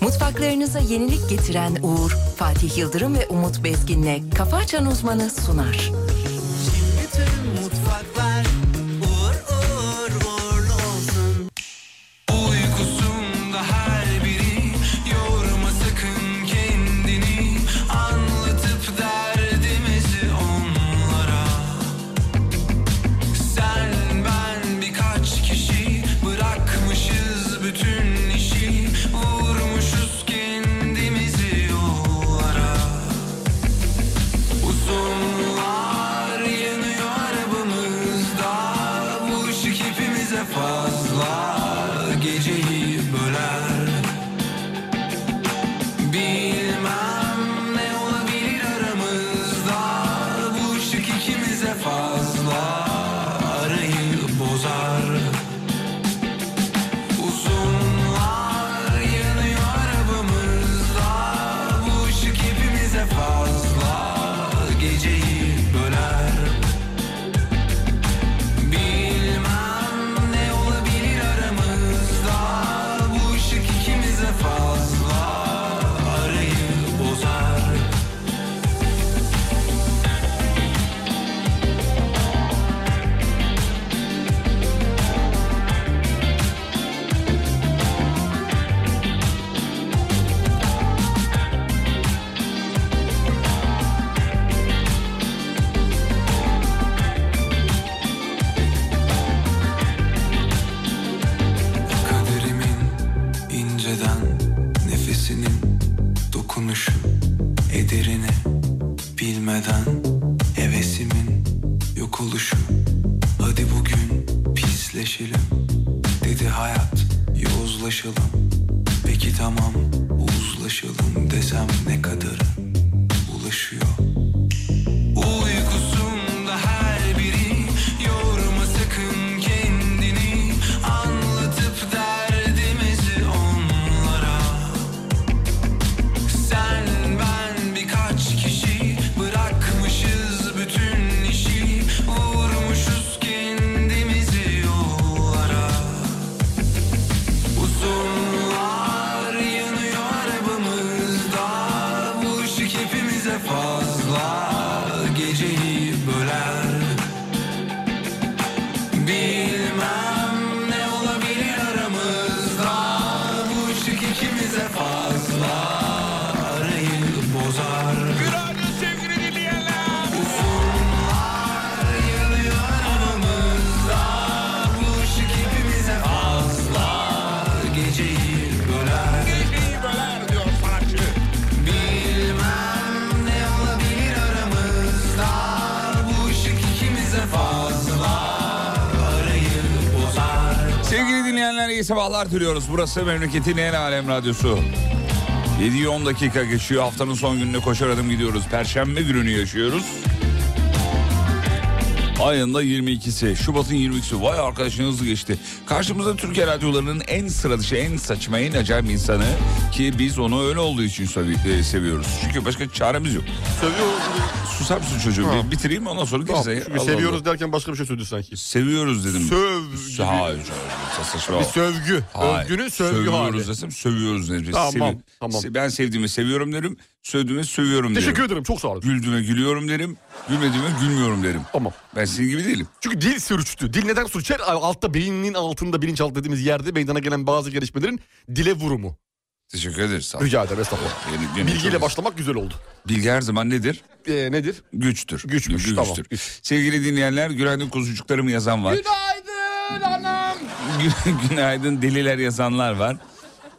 Mutfaklarınıza yenilik getiren Uğur, Fatih Yıldırım ve Umut Bezgin'le Kafa Açan Uzmanı sunar. Bütün mutfaklar uğur uğur uğurlu olsun. Uykusunda her biri yorma sakın kendini. Anlatıp derdimizi onlara. Sen ben birkaç kişi bırakmışız bütün işi. Vurmuşuz kendimizi yollara. Uzunlar yanıyor arabamızda Bu ışık hepimize fazla Geceyi böler Bilmem ne olabilir aramızda Bu ışık ikimize fazla Arayı bozar Uzunlar yanıyor arabamızda Bu ışık hepimize fazla Geceyi böler Bilmem ne olabilir aramızda Bu ışık ikimize fazla Arayı bozar Kaderimin inceden nefesinin dokunuşu ederini bilmeden hevesimin yok oluşu hadi bugün pisleşelim dedi hayat yozlaşalım peki tamam uzlaşalım desem ne kadarı ulaşıyor Uykusunda her biri yorma sakın kendini anlatıp derdimizi onlara. Sen ben birkaç kişi bırakmışız bütün işi vurmuşuz kendimizi yollara. Uzunlar yanıyor arabamızda Bu ışık hepimize fazla Geceyi böler Bilmem ne olabilir aramızda Bu ışık ikimize fazla Arayı bozar Günaydın sevgili dinleyenler. Uzunlar yanıyor aramızda Bu ışık hepimize fazla Geceyi böler Geceyi böler diyor sanatçı. Bilmem ne olabilir aramızda Bu ışık ikimize fazla Arayı bozar Sevgili dinleyenler iyi sabahlar diliyoruz. Burası memleketin en alem radyosu. 7-10 dakika geçiyor. Haftanın son gününe koşar adım gidiyoruz. Perşembe gününü yaşıyoruz. Ayın da 22'si. Şubat'ın 22'si. Vay arkadaşın hızlı geçti. Karşımızda Türkiye radyolarının en sıra dışı, en saçma, en acayip insanı. Ki biz onu öyle olduğu için sevi- e, seviyoruz. Çünkü başka çaremiz yok. Seviyoruz. Susar mısın çocuğum? Ha. Bir şey. bitireyim ondan sonra Tamam, girsen. çünkü Allah seviyoruz Allah. derken başka bir şey söyledi sanki. Seviyoruz dedim. Söv Sö- gibi. Hayır. canım, saçma. Bir sövgü. Hayır. Övgünün sövgü hali. Sövüyoruz desem sövüyoruz dedim. Tamam, Sevi- tamam. Se- Ben sevdiğimi seviyorum derim. Sövdüğüme sövüyorum derim. Teşekkür ederim. Çok sağ olun. Güldüğüme gülüyorum derim. Gülmediğime gülmüyorum derim. Tamam. Ben senin gibi değilim. Çünkü dil sürçtü. Dil neden sürçer? Altta beynin altında bilinçaltı dediğimiz yerde meydana gelen bazı gelişmelerin dile vurumu. Teşekkür ederiz. Sağ ol. Rica ederim estağfurullah. Yeni- yeni- Bilgiyle başlamak güzel oldu. Bilgi her zaman nedir? Ee, nedir? Güçtür. Güçmüş, Gü- tamam. Sevgili dinleyenler günaydın kuzucuklarım yazan var. Günaydın anam. Gü- günaydın deliler yazanlar var.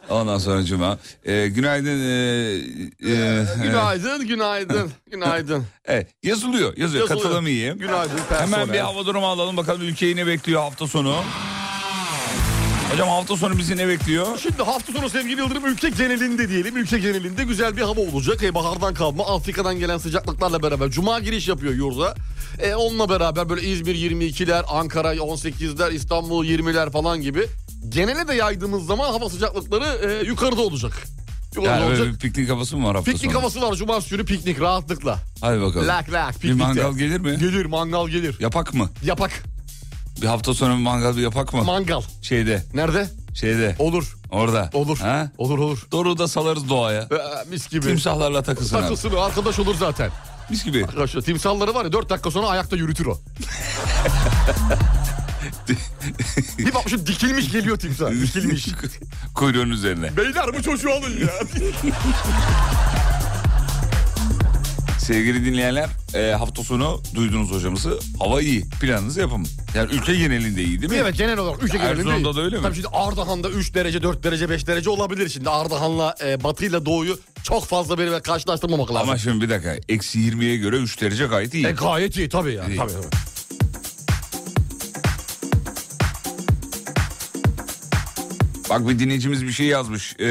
Ondan sonra cuma. Ee, günaydın. E, e, Günaydın, günaydın, günaydın. Evet, yazılıyor, yazıyor. Yazılıyor. Katılamayayım. Günaydın personel. Hemen bir hava durumu alalım bakalım ülkeyi ne bekliyor hafta sonu. Hocam hafta sonu bizi ne bekliyor? Şimdi hafta sonu sevgili Yıldırım ülke genelinde diyelim. Ülke genelinde güzel bir hava olacak. E, bahardan kalma Afrika'dan gelen sıcaklıklarla beraber. Cuma giriş yapıyor yurda. E, onunla beraber böyle İzmir 22'ler, Ankara 18'ler, İstanbul 20'ler falan gibi. Genele de yaydığımız zaman hava sıcaklıkları e, yukarıda olacak. Yukarıda Yani olacak. böyle bir piknik havası mı var hafta Piknik sonu? havası var. Cuma günü piknik rahatlıkla. Hadi bakalım. Lak lak piknikte. bir mangal gelir mi? Gelir mangal gelir. Yapak mı? Yapak Bir hafta sonu bir mangal bir yapak mı? mangal. şeyde, Nerede? şeyde. Olur. Orada. Olur. Ha? Olur olur. Doğru da salarız doğaya. Ee, mis gibi. Timsahlarla takılsın abi. Takılsın arkadaş olur zaten. Mis gibi. Arkadaşlar timsalları var ya 4 dakika sonra ayakta yürütür o. Bir bakmışsın dikilmiş geliyor timsah. Dikilmiş. Kuyruğun üzerine. Beyler bu çocuğu alın ya. Sevgili dinleyenler e, hafta sonu duydunuz hocamızı. Hava iyi. Planınızı yapın. Yani ülke genelinde iyi değil mi? evet genel olarak ülke genelinde. Erzurum'da iyi. da öyle mi? Tabii şimdi Ardahan'da 3 derece 4 derece 5 derece olabilir şimdi. Ardahan'la e, batıyla doğuyu çok fazla böyle karşılaştırmamak lazım. Ama şimdi bir dakika. Eksi 20'ye göre 3 derece gayet iyi. E, gayet iyi tabii ya. İyi. Tabii, tabii. Bak bir dinleyicimiz bir şey yazmış. Ee,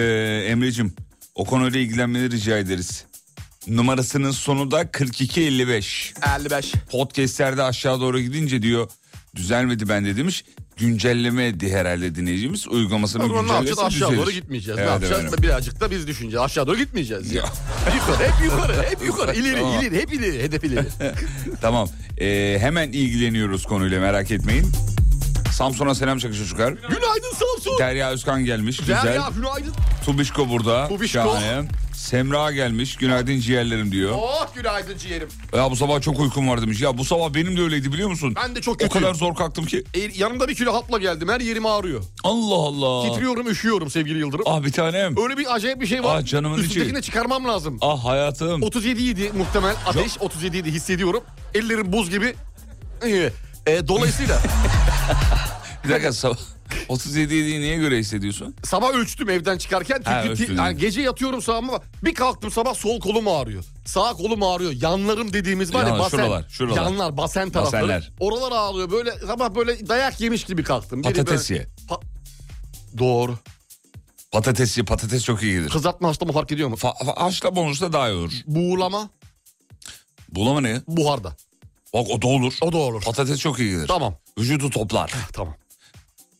Emre'cim o konuyla ilgilenmeni rica ederiz. Numarasının sonu da 4255. 55. Podcast'lerde aşağı doğru gidince diyor düzelmedi bende demiş. Güncelleme etti herhalde dinleyicimiz. Uygulamasını O zaman ne yapacağız? güncellerse Aşağı düzelir. doğru gitmeyeceğiz. Evet ne yapacağız? efendim. Birazcık da biz düşüneceğiz. Aşağı doğru gitmeyeceğiz. Ya. yukarı, hep yukarı, hep yukarı. İleri, Tamam. ileri, hep ileri, hedef ileri. Tamam. Ee, hemen ilgileniyoruz konuyla merak etmeyin. Samsun'a selam çakın çocuklar. Günaydın Samsun. Derya Özkan gelmiş. Gel Güzel. ya günaydın. Tubişko burada. Tubişko. Şahane. Semra gelmiş. Günaydın ciğerlerim diyor. Oh günaydın ciğerim. Ya bu sabah çok uykum var demiş. Ya bu sabah benim de öyleydi biliyor musun? Ben de çok o kötüyüm. kadar zor kalktım ki. E, yanımda bir kilo hapla geldim. Her yerim ağrıyor. Allah Allah. Titriyorum, üşüyorum sevgili Yıldırım. Ah bir tanem. Öyle bir acayip bir şey var. Ah, canımın içi. Üstündekini de çıkarmam lazım. Ah hayatım. 37 idi muhtemel ateş. 37 idi hissediyorum. Ellerim buz gibi. Ee, e, dolayısıyla Bir dakika sabah. 37 yediği niye göre hissediyorsun? sabah ölçtüm evden çıkarken. Çünkü Ha, ti- ölçtün. yani gece yatıyorum sağıma bak. Bir kalktım sabah sol kolum ağrıyor. Sağ kolum ağrıyor. Yanlarım dediğimiz var ya Yanlar, basen. şuralar, şuralar. Yanlar basen tarafları. Basenler. Oralar ağrıyor. Böyle sabah böyle dayak yemiş gibi kalktım. Biri Patates böyle- ye. Doğru. Patates ye. Patates çok iyi gelir. Kızartma haşlama fark ediyor mu? Fa- fa- haşla bonusla daha iyi olur. Buğulama Bulama ne? ya? buharda. Bak o da olur. O da olur. Patates çok iyi gelir. Tamam. Vücudu toplar. Tamam.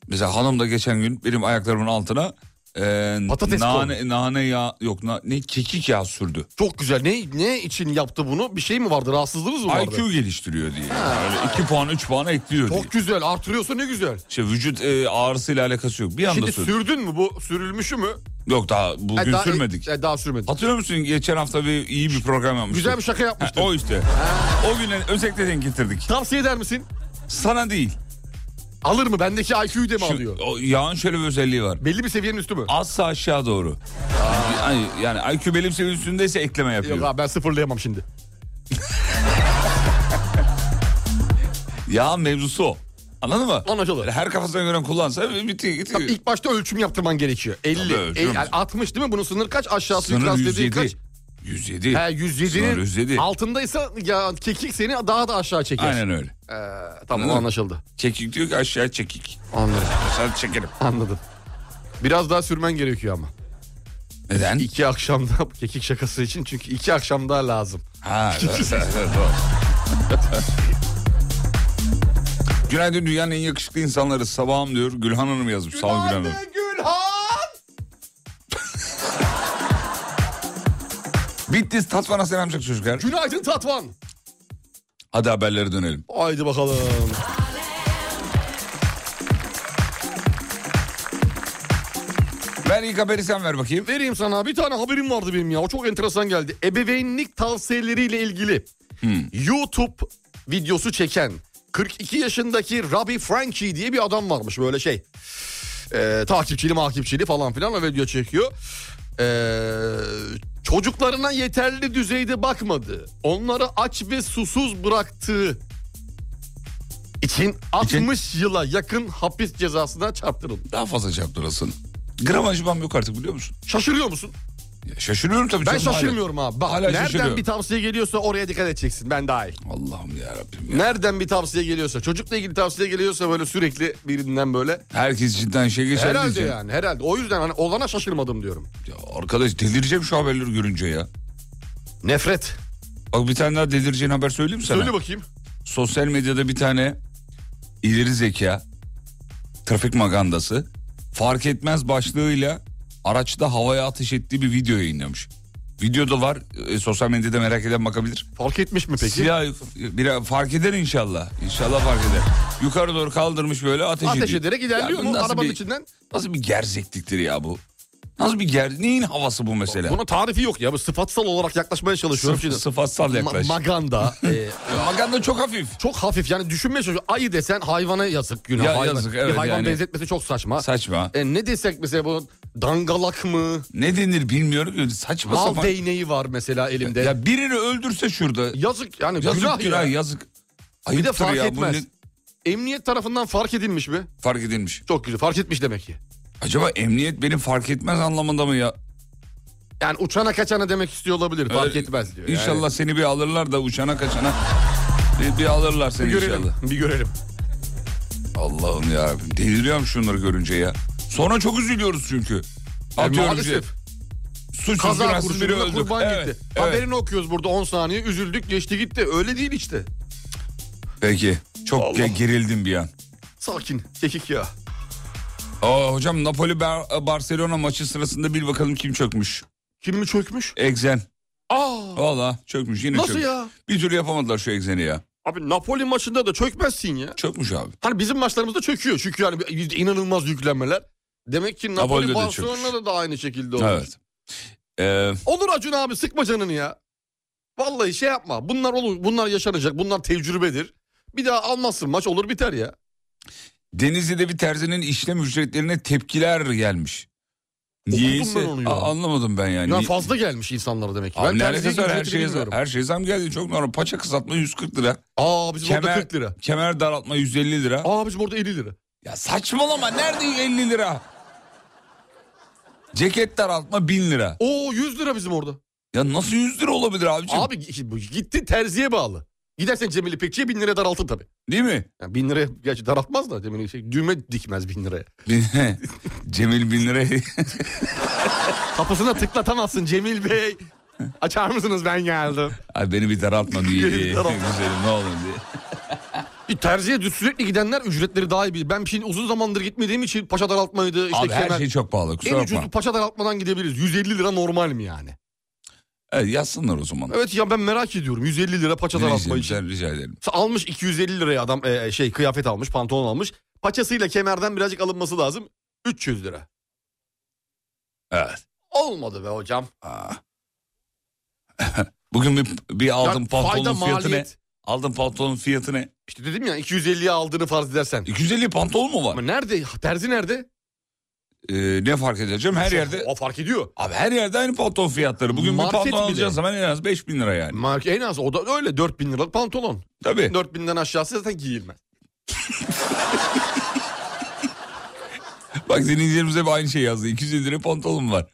Mesela hanım da geçen gün benim ayaklarımın altına e, Patates nane, nane yağı yok na, ne kekik yağı sürdü. Çok güzel. Ne ne için yaptı bunu? Bir şey mi vardı? Rahatsızlığınız mı vardı? IQ geliştiriyor diye. Öyle 2 puan 3 puan ekliyor diye. Çok güzel. Artırıyorsa ne güzel. İşte vücut e, ağrısıyla alakası yok. Bir anda Şimdi sürdü. sürdün mü bu? Sürülmüşü mü? Yok daha bugün Ha, daha- sürmedik. e, daha sürmedik. Hatırlıyor musun geçen hafta bir iyi bir program yapmıştık. Güzel bir şaka Ha, yapmıştın. o işte. O güne özellikle denk getirdik. Tavsiye eder misin? Sana değil. Alır mı? Bendeki IQ'yu de mi Şu, alıyor? o yağın şöyle bir özelliği var. Belli bir seviyenin üstü mü? Azsa aşağı doğru. Yani, yani IQ benim seviyesindeyse ekleme yapıyor. Yok abi ben sıfırlayamam şimdi. Yağın mevzusu o. Anladın mı? Anlaşıldı. Her kafasına göre kullansa bitiyor gitti. Tabii ilk başta ölçüm yaptırman gerekiyor. 50. Tabii, ölçüyorum. E, yani 60 değil mi? Bunun sınır kaç? Aşağısı Sınır yukarısı dediği 107. kaç? 107. He 107'nin Sınır 107. altındaysa ya kekik seni daha da aşağı çeker. Aynen öyle. Ee, tamam Anladın mı? anlaşıldı. Çekik diyor ki aşağı çekik. Anladım. Sen çekelim. Anladım. Biraz daha sürmen gerekiyor ama. Neden? İki akşamda kekik şakası için çünkü iki akşam daha lazım. Ha, evet, evet, evet, doğru. Günaydın dünyanın en yakışıklı insanları sabahım diyor. Gülhan Hanım yazmış. Sağ ol Gülhan Hanım. Gülhan! Bitlis Tatvan'a selam çak çocuklar. Günaydın Tatvan. Hadi haberlere dönelim. Haydi bakalım. Ben ilk haberi sen ver bakayım. Vereyim sana bir tane haberim vardı benim ya. O çok enteresan geldi. Ebeveynlik tavsiyeleriyle ilgili YouTube videosu çeken 42 yaşındaki Robbie Frankie diye bir adam varmış böyle şey. Ee, takipçili makipçili falan filan o video çekiyor. Ee, çocuklarına yeterli düzeyde bakmadı. Onları aç ve susuz bıraktığı için 60 yıla yakın hapis cezasına çarptırıldı. Daha fazla çarptırasın. Gram acımam yok artık biliyor musun? Şaşırıyor musun? Ya şaşırıyorum tabii. Ben canım hala. şaşırmıyorum abi. Bak Hala nereden şaşırıyorum. bir tavsiye geliyorsa oraya dikkat edeceksin ben dahil. Allah'ım ya Rabbim. Nereden bir tavsiye geliyorsa çocukla ilgili tavsiye geliyorsa böyle sürekli birinden böyle. Herkes cidden şey geçer Herhalde diyeceğim. yani herhalde. O yüzden hani olana şaşırmadım diyorum. Ya arkadaş delireceğim şu haberleri görünce ya. Nefret. Bak bir tane daha delireceğin haber söyleyeyim mi sana? Söyle bakayım. Sosyal medyada bir tane ileri zeka trafik magandası fark etmez başlığıyla araçta havaya ateş ettiği bir video yayınlamış. Videoda var. E, sosyal medyada merak eden bakabilir. Fark etmiş mi peki? Siyah bir fark eder inşallah. İnşallah fark eder. Yukarı doğru kaldırmış böyle ateş, Ateş ediyor. ederek ilerliyor Ya bu mu nasıl arabanın bir- içinden? Nasıl bir gerzekliktir ya bu? Nasıl bir ger... Neyin havası bu mesela? Buna tarifi yok ya. Bu sıfatsal olarak yaklaşmaya çalışıyorum. Sıf- Şimdi sıfatsal ma- yaklaş. maganda. e, Maganda çok hafif. çok hafif yani düşünmeye çalışıyorum. Ayı desen hayvana yazık günah. Ya hayvan. yazık, Bir evet hayvan yani. benzetmesi çok saçma. Saçma. E, ne desek mesela bu dangalak mı? Ne denir bilmiyorum. ki. Saçma Mal sapan. değneği var mesela elimde. Ya birini öldürse şurada. yazık yani Yazık günah, günah, ya. yazık. Bir Ayıptır de fark ya. bu etmez. ne- Emniyet tarafından fark edilmiş mi? fark edilmiş. Çok güzel fark etmiş demek ki. Acaba emniyet benim fark etmez anlamında mı ya? Yani uçana kaçana demek istiyor olabilir fark Öyle- etmez diyor. İnşallah seni bir alırlar da uçana kaçana. Bir, bir alırlar seni Yani. Bir görelim inşallah. bir görelim. Allah'ım ya deliriyorum şunları görünce ya. Sonra çok üzülüyoruz çünkü. Yani Atıyorum E, maalesef. işte, suçsuz Kaza günahsız biri kurşununa öldü. kurban Evet, gitti. evet. Haberini okuyoruz burada 10 saniye üzüldük geçti gitti. Öyle değil işte. Peki çok Allah. ge- gerildim bir an. Sakin kekik ya. Aa, hocam Napoli Bar- Barcelona maçı sırasında bir bakalım kim çökmüş. Kim mi çökmüş? Egzen. Aa Valla çökmüş yine nasıl çökmüş. ya? Bir türlü yapamadılar şu egzeni ya. Abi Napoli maçında da çökmezsin ya. Çökmüş abi. Hani bizim maçlarımızda çöküyor çünkü yani bir- inanılmaz yüklenmeler. Demek ki Napoli Napoli'de de çökmüş. Barcelona'da da aynı şekilde olmuş. Evet. Ee, Olur Acun abi sıkma canını ya. Vallahi şey yapma. Bunlar olur, bunlar yaşanacak. Bunlar tecrübedir. Bir daha almazsın maç olur biter ya. Denizli'de bir terzinin işlem ücretlerine tepkiler gelmiş. Okudum Niyeyse ben onu ya. Aa, anlamadım ben yani. Ya Niye- fazla gelmiş insanlara demek ki. Abi ne terzi alakası var her ücretini şeye, zam, bilmiyorum. her şeye zam geldi çok normal. Paça kısaltma 140 lira. Aa bizim orada Kemer- 40 lira. Kemer daraltma 150 lira. Aa bizim orada 50 lira. Ya saçmalama nerede 50 lira? Ceket daraltma 1000 lira. Oo 100 lira bizim orada. Ya nasıl 100 lira olabilir abiciğim? Abi gi- bu gitti terziye bağlı. Gidersen Cemil İpekçi'ye 1000 lira daraltır tabii. Değil mi? Yani 1000 liraya gerçi daraltmaz da Cemil İpekçi düğme dikmez 1000 liraya. Cemil 1000 lira. Kapısına tıklatamazsın Cemil Bey. Açar mısınız ben geldim. Abi beni bir daraltma diye. Beni bir daraltma. Güzelim ne olur diye. Bir terziye E, sürekli gidenler ücretleri daha iyi bilir. Ben şimdi uzun zamandır gitmediğim için paça daraltmaydı. Işte Abi her kemer- şey çok pahalı kusura En ucuzu bakma. paça daraltmadan gidebiliriz. 150 lira normal mi yani? Evet, yazsınlar o zaman. Evet ya ben merak ediyorum. 150 lira paça Rica, daraltma için. rica, rica ederim. Almış 250 liraya adam e, şey kıyafet almış, pantolon almış. Paçasıyla kemerden birazcık alınması lazım. 300 lira. Evet. Olmadı be hocam. Aa. Bugün bir, bir aldım Ya pantolonun fayda, fiyatı ne? maliyet. Aldım pantolonun fiyatı ne? İşte dedim ya 250'ye aldığını farz edersen. 250 pantolon mu Ama var? nerede? Terzi nerede? Ee, ne fark edeceğim? Her yerde O fark ediyor. abi her yerde aynı pantolon fiyatları. Bugün Market bir pantolon bile. alacağız zaman en az 5000 lira yani. Mark en az o da öyle 4000 liralık pantolon. Tabii. 4000'den aşağısı zaten giyilmez. Bak dinleyicilerimiz hep aynı şey yazdı. 250 lira pantolon var.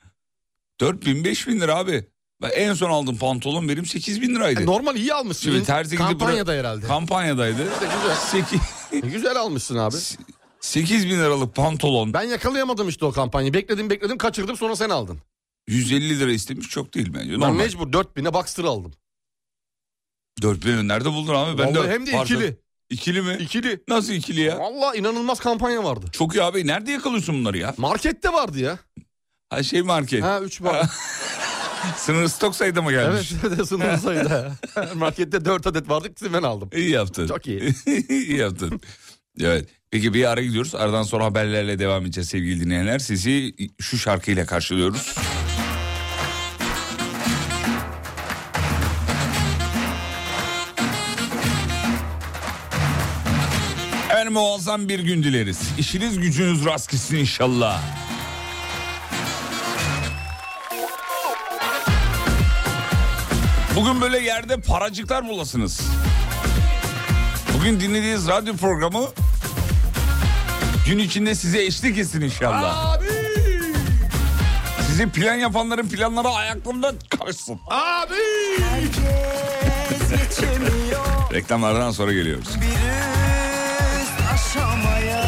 4000 5000 lira abi. Ben en son aldığım pantolon benim 8000 liraydı. E, normal iyi almışsın. Şimdi terzi gidip Kampanyada herhalde. Kampanyadaydı. güzel. 8 E, güzel almışsın abi. 8000 liralık pantolon Ben yakalayamadım işte o kampanyayı. Bekledim bekledim kaçırdım sonra sen aldın. 150 lira istemiş çok değil bence. Ben Normal. mecbur 4000'e Boxster aldım. 4000 nerede buldun abi? Ben Ben Vallahi hem de Pardon. ikili. İkili mi? İkili. Nasıl ikili ya? Valla inanılmaz kampanya vardı. Çok iyi abi. Nerede yakalıyorsun bunları ya? Markette vardı ya. Ha şey market. Ha 3 var. Sınır stok sayıda mı evet gelmiş? sınır sayıda. Markette 4 adet vardı ikisini ben aldım. İyi yaptın. Çok iyi. iyi yaptın. Evet. Peki bir ara gidiyoruz. Aradan sonra haberlerle devam edeceğiz sevgili dinleyenler. Sizi şu şarkıyla karşılıyoruz. En muazzam bir gün dileriz. İşiniz gücünüz rast gitsin inşallah. Bugün böyle yerde paracıklar bulasınız. Bugün dinlediğiniz radyo programı gün içinde size eşlik etsin inşallah. Abi! Sizi plan yapanların planları ayaklarından kaçsın. Abi! Herkes geçemiyor Reklamlardan sonra geliyoruz. bir üst aşamaya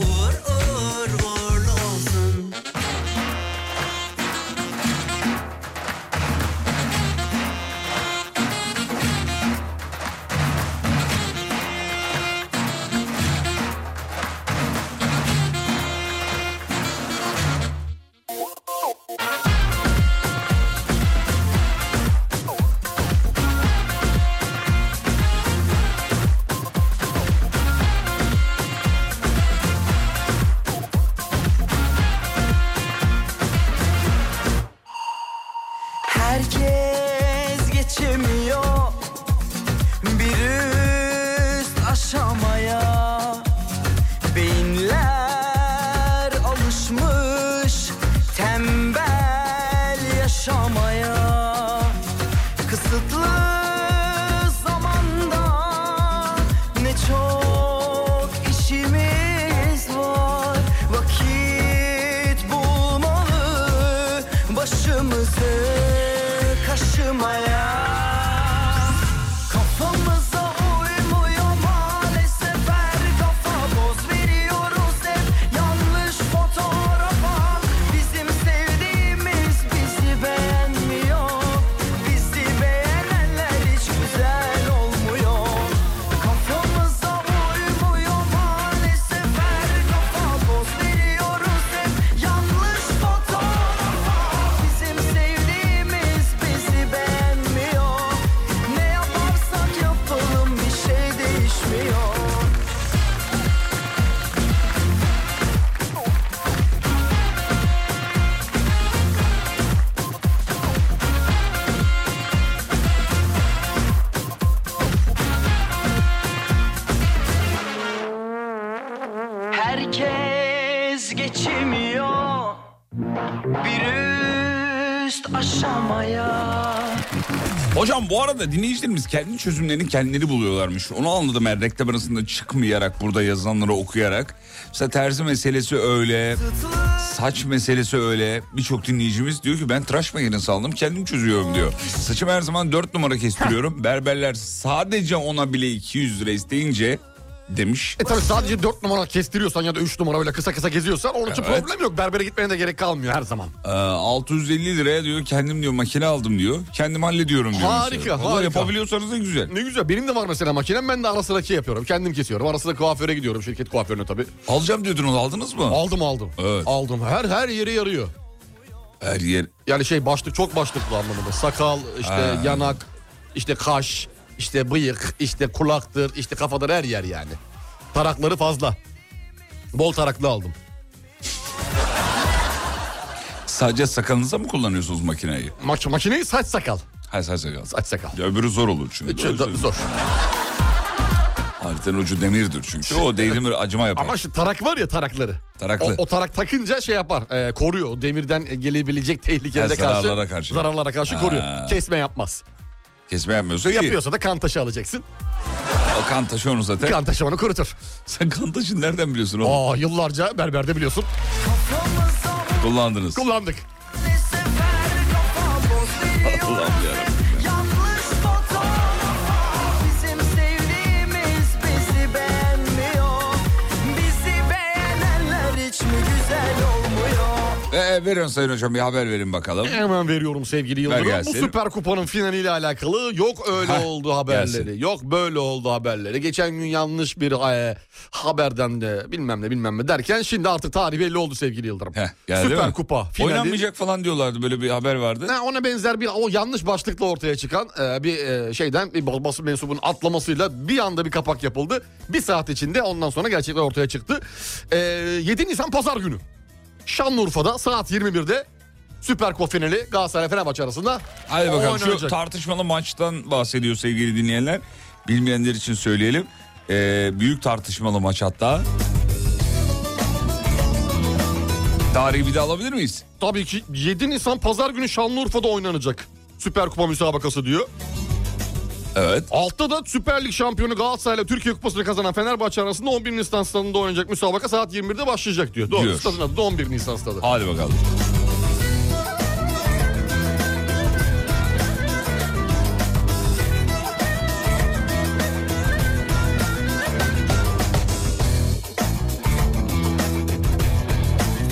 uğur uğur uğurlu olsun şey Bir üst aşamaya Hocam bu arada dinleyicilerimiz kendi çözümlerini kendileri buluyorlarmış. Onu anladım her reklam arasında çıkmayarak burada yazılanları okuyarak. Mesela terzi meselesi öyle, saç meselesi öyle. Birçok dinleyicimiz diyor ki ben tıraş makinesi aldım kendim çözüyorum diyor. Saçımı her zaman 4 numara kestiriyorum. Berberler sadece ona bile 200 lira isteyince demiş. E tabii sadece 4 numara kestiriyorsan ya da 3 numara öyle kısa kısa geziyorsan onun için Evet. problem yok. Berbere gitmene de gerek kalmıyor her zaman. Ee, 650 liraya diyor kendim diyor makine aldım diyor. Kendim hallediyorum diyor. mesela. Harika, Vallahi harika. Yapabiliyorsanız ne güzel. Ne güzel benim de var mesela makinem ben de ara sıra şey yapıyorum. Kendim kesiyorum. Ara sıra kuaföre gidiyorum şirket kuaförüne tabii. Alacağım diyordunuz aldınız mı? Aldım aldım. Evet. Aldım. Her her yere yarıyor. Her yer Yani şey başlık çok başlıklı anlamında. Sakal, işte Ha. yanak, işte kaş, işte bıyık, işte kulaktır, işte kafadır her yer yani. Tarakları fazla. Bol taraklı aldım. Sadece sakalınıza mı kullanıyorsunuz makineyi? Mak- makineyi saç sakal. Hayır sadece sakal. Saç sakal. Ya öbürü zor olur çünkü. Ç- da- Doğru Zor. Haritanın ucu demirdir çünkü. O değdi mi acıma yapar. Ama şu tarak var ya tarakları. Taraklı. O, o tarak takınca şey yapar. e, koruyor. O Demirden gelebilecek tehlikelere Ha, karşı. zararlara karşı. Zararlara karşı Ha. koruyor. Kesme yapmaz. Kesme yapmıyorsa iyi. Yapıyorsa da kan taşı alacaksın. O kan taşı onu zaten. Kan taşı onu kurutur. Sen kan taşını nereden biliyorsun oğlum? Aa yıllarca berberde biliyorsun Kullandınız. kullandık. Allah'ım yarabbim. Yanlış fotoğrafa Bizim sevdiğimiz bizi beğenmiyor Bizi beğenenler hiç mi güzel olmuyor Ee, veriyorum Sayın Hocam bir haber verin bakalım. Hemen veriyorum sevgili Yıldırım. Bu gelsin. Süper Kupa'nın finaliyle alakalı yok öyle Heh, oldu haberleri. gelsin. Yok böyle oldu haberleri. Geçen gün yanlış bir e, haberden de bilmem ne bilmem ne derken şimdi artık tarih belli oldu sevgili Yıldırım. Heh, geldi Süper mi? Kupa finali. Oynanmayacak falan diyorlardı böyle bir haber vardı. Ha, ona benzer bir o yanlış başlıkla ortaya çıkan e, bir e, şeyden bir bas- basın mensubunun atlamasıyla bir anda bir kapak yapıldı. Bir saat içinde ondan sonra gerçekler ortaya çıktı. E, 7 Nisan Pazar günü Şanlıurfa'da saat 21'de Süper Kupa finali Galatasaray Fenerbahçe arasında Hadi bakalım şu oynanacak. tartışmalı maçtan bahsediyor sevgili dinleyenler. Bilmeyenler için söyleyelim. Ee, büyük tartışmalı maç hatta. Tarihi bir daha alabilir miyiz? Tabii ki 7 Nisan Pazar günü Şanlıurfa'da oynanacak. Süper Kupa müsabakası diyor. Evet. Altta da Süper Lig şampiyonu Galatasaray ile Türkiye Kupası'nı kazanan Fenerbahçe arasında 11 Nisan stadında oynanacak müsabaka saat 21'de başlayacak diyor. Doğru Diyor. stadın adı da 11 Nisan stadı. Hadi bakalım.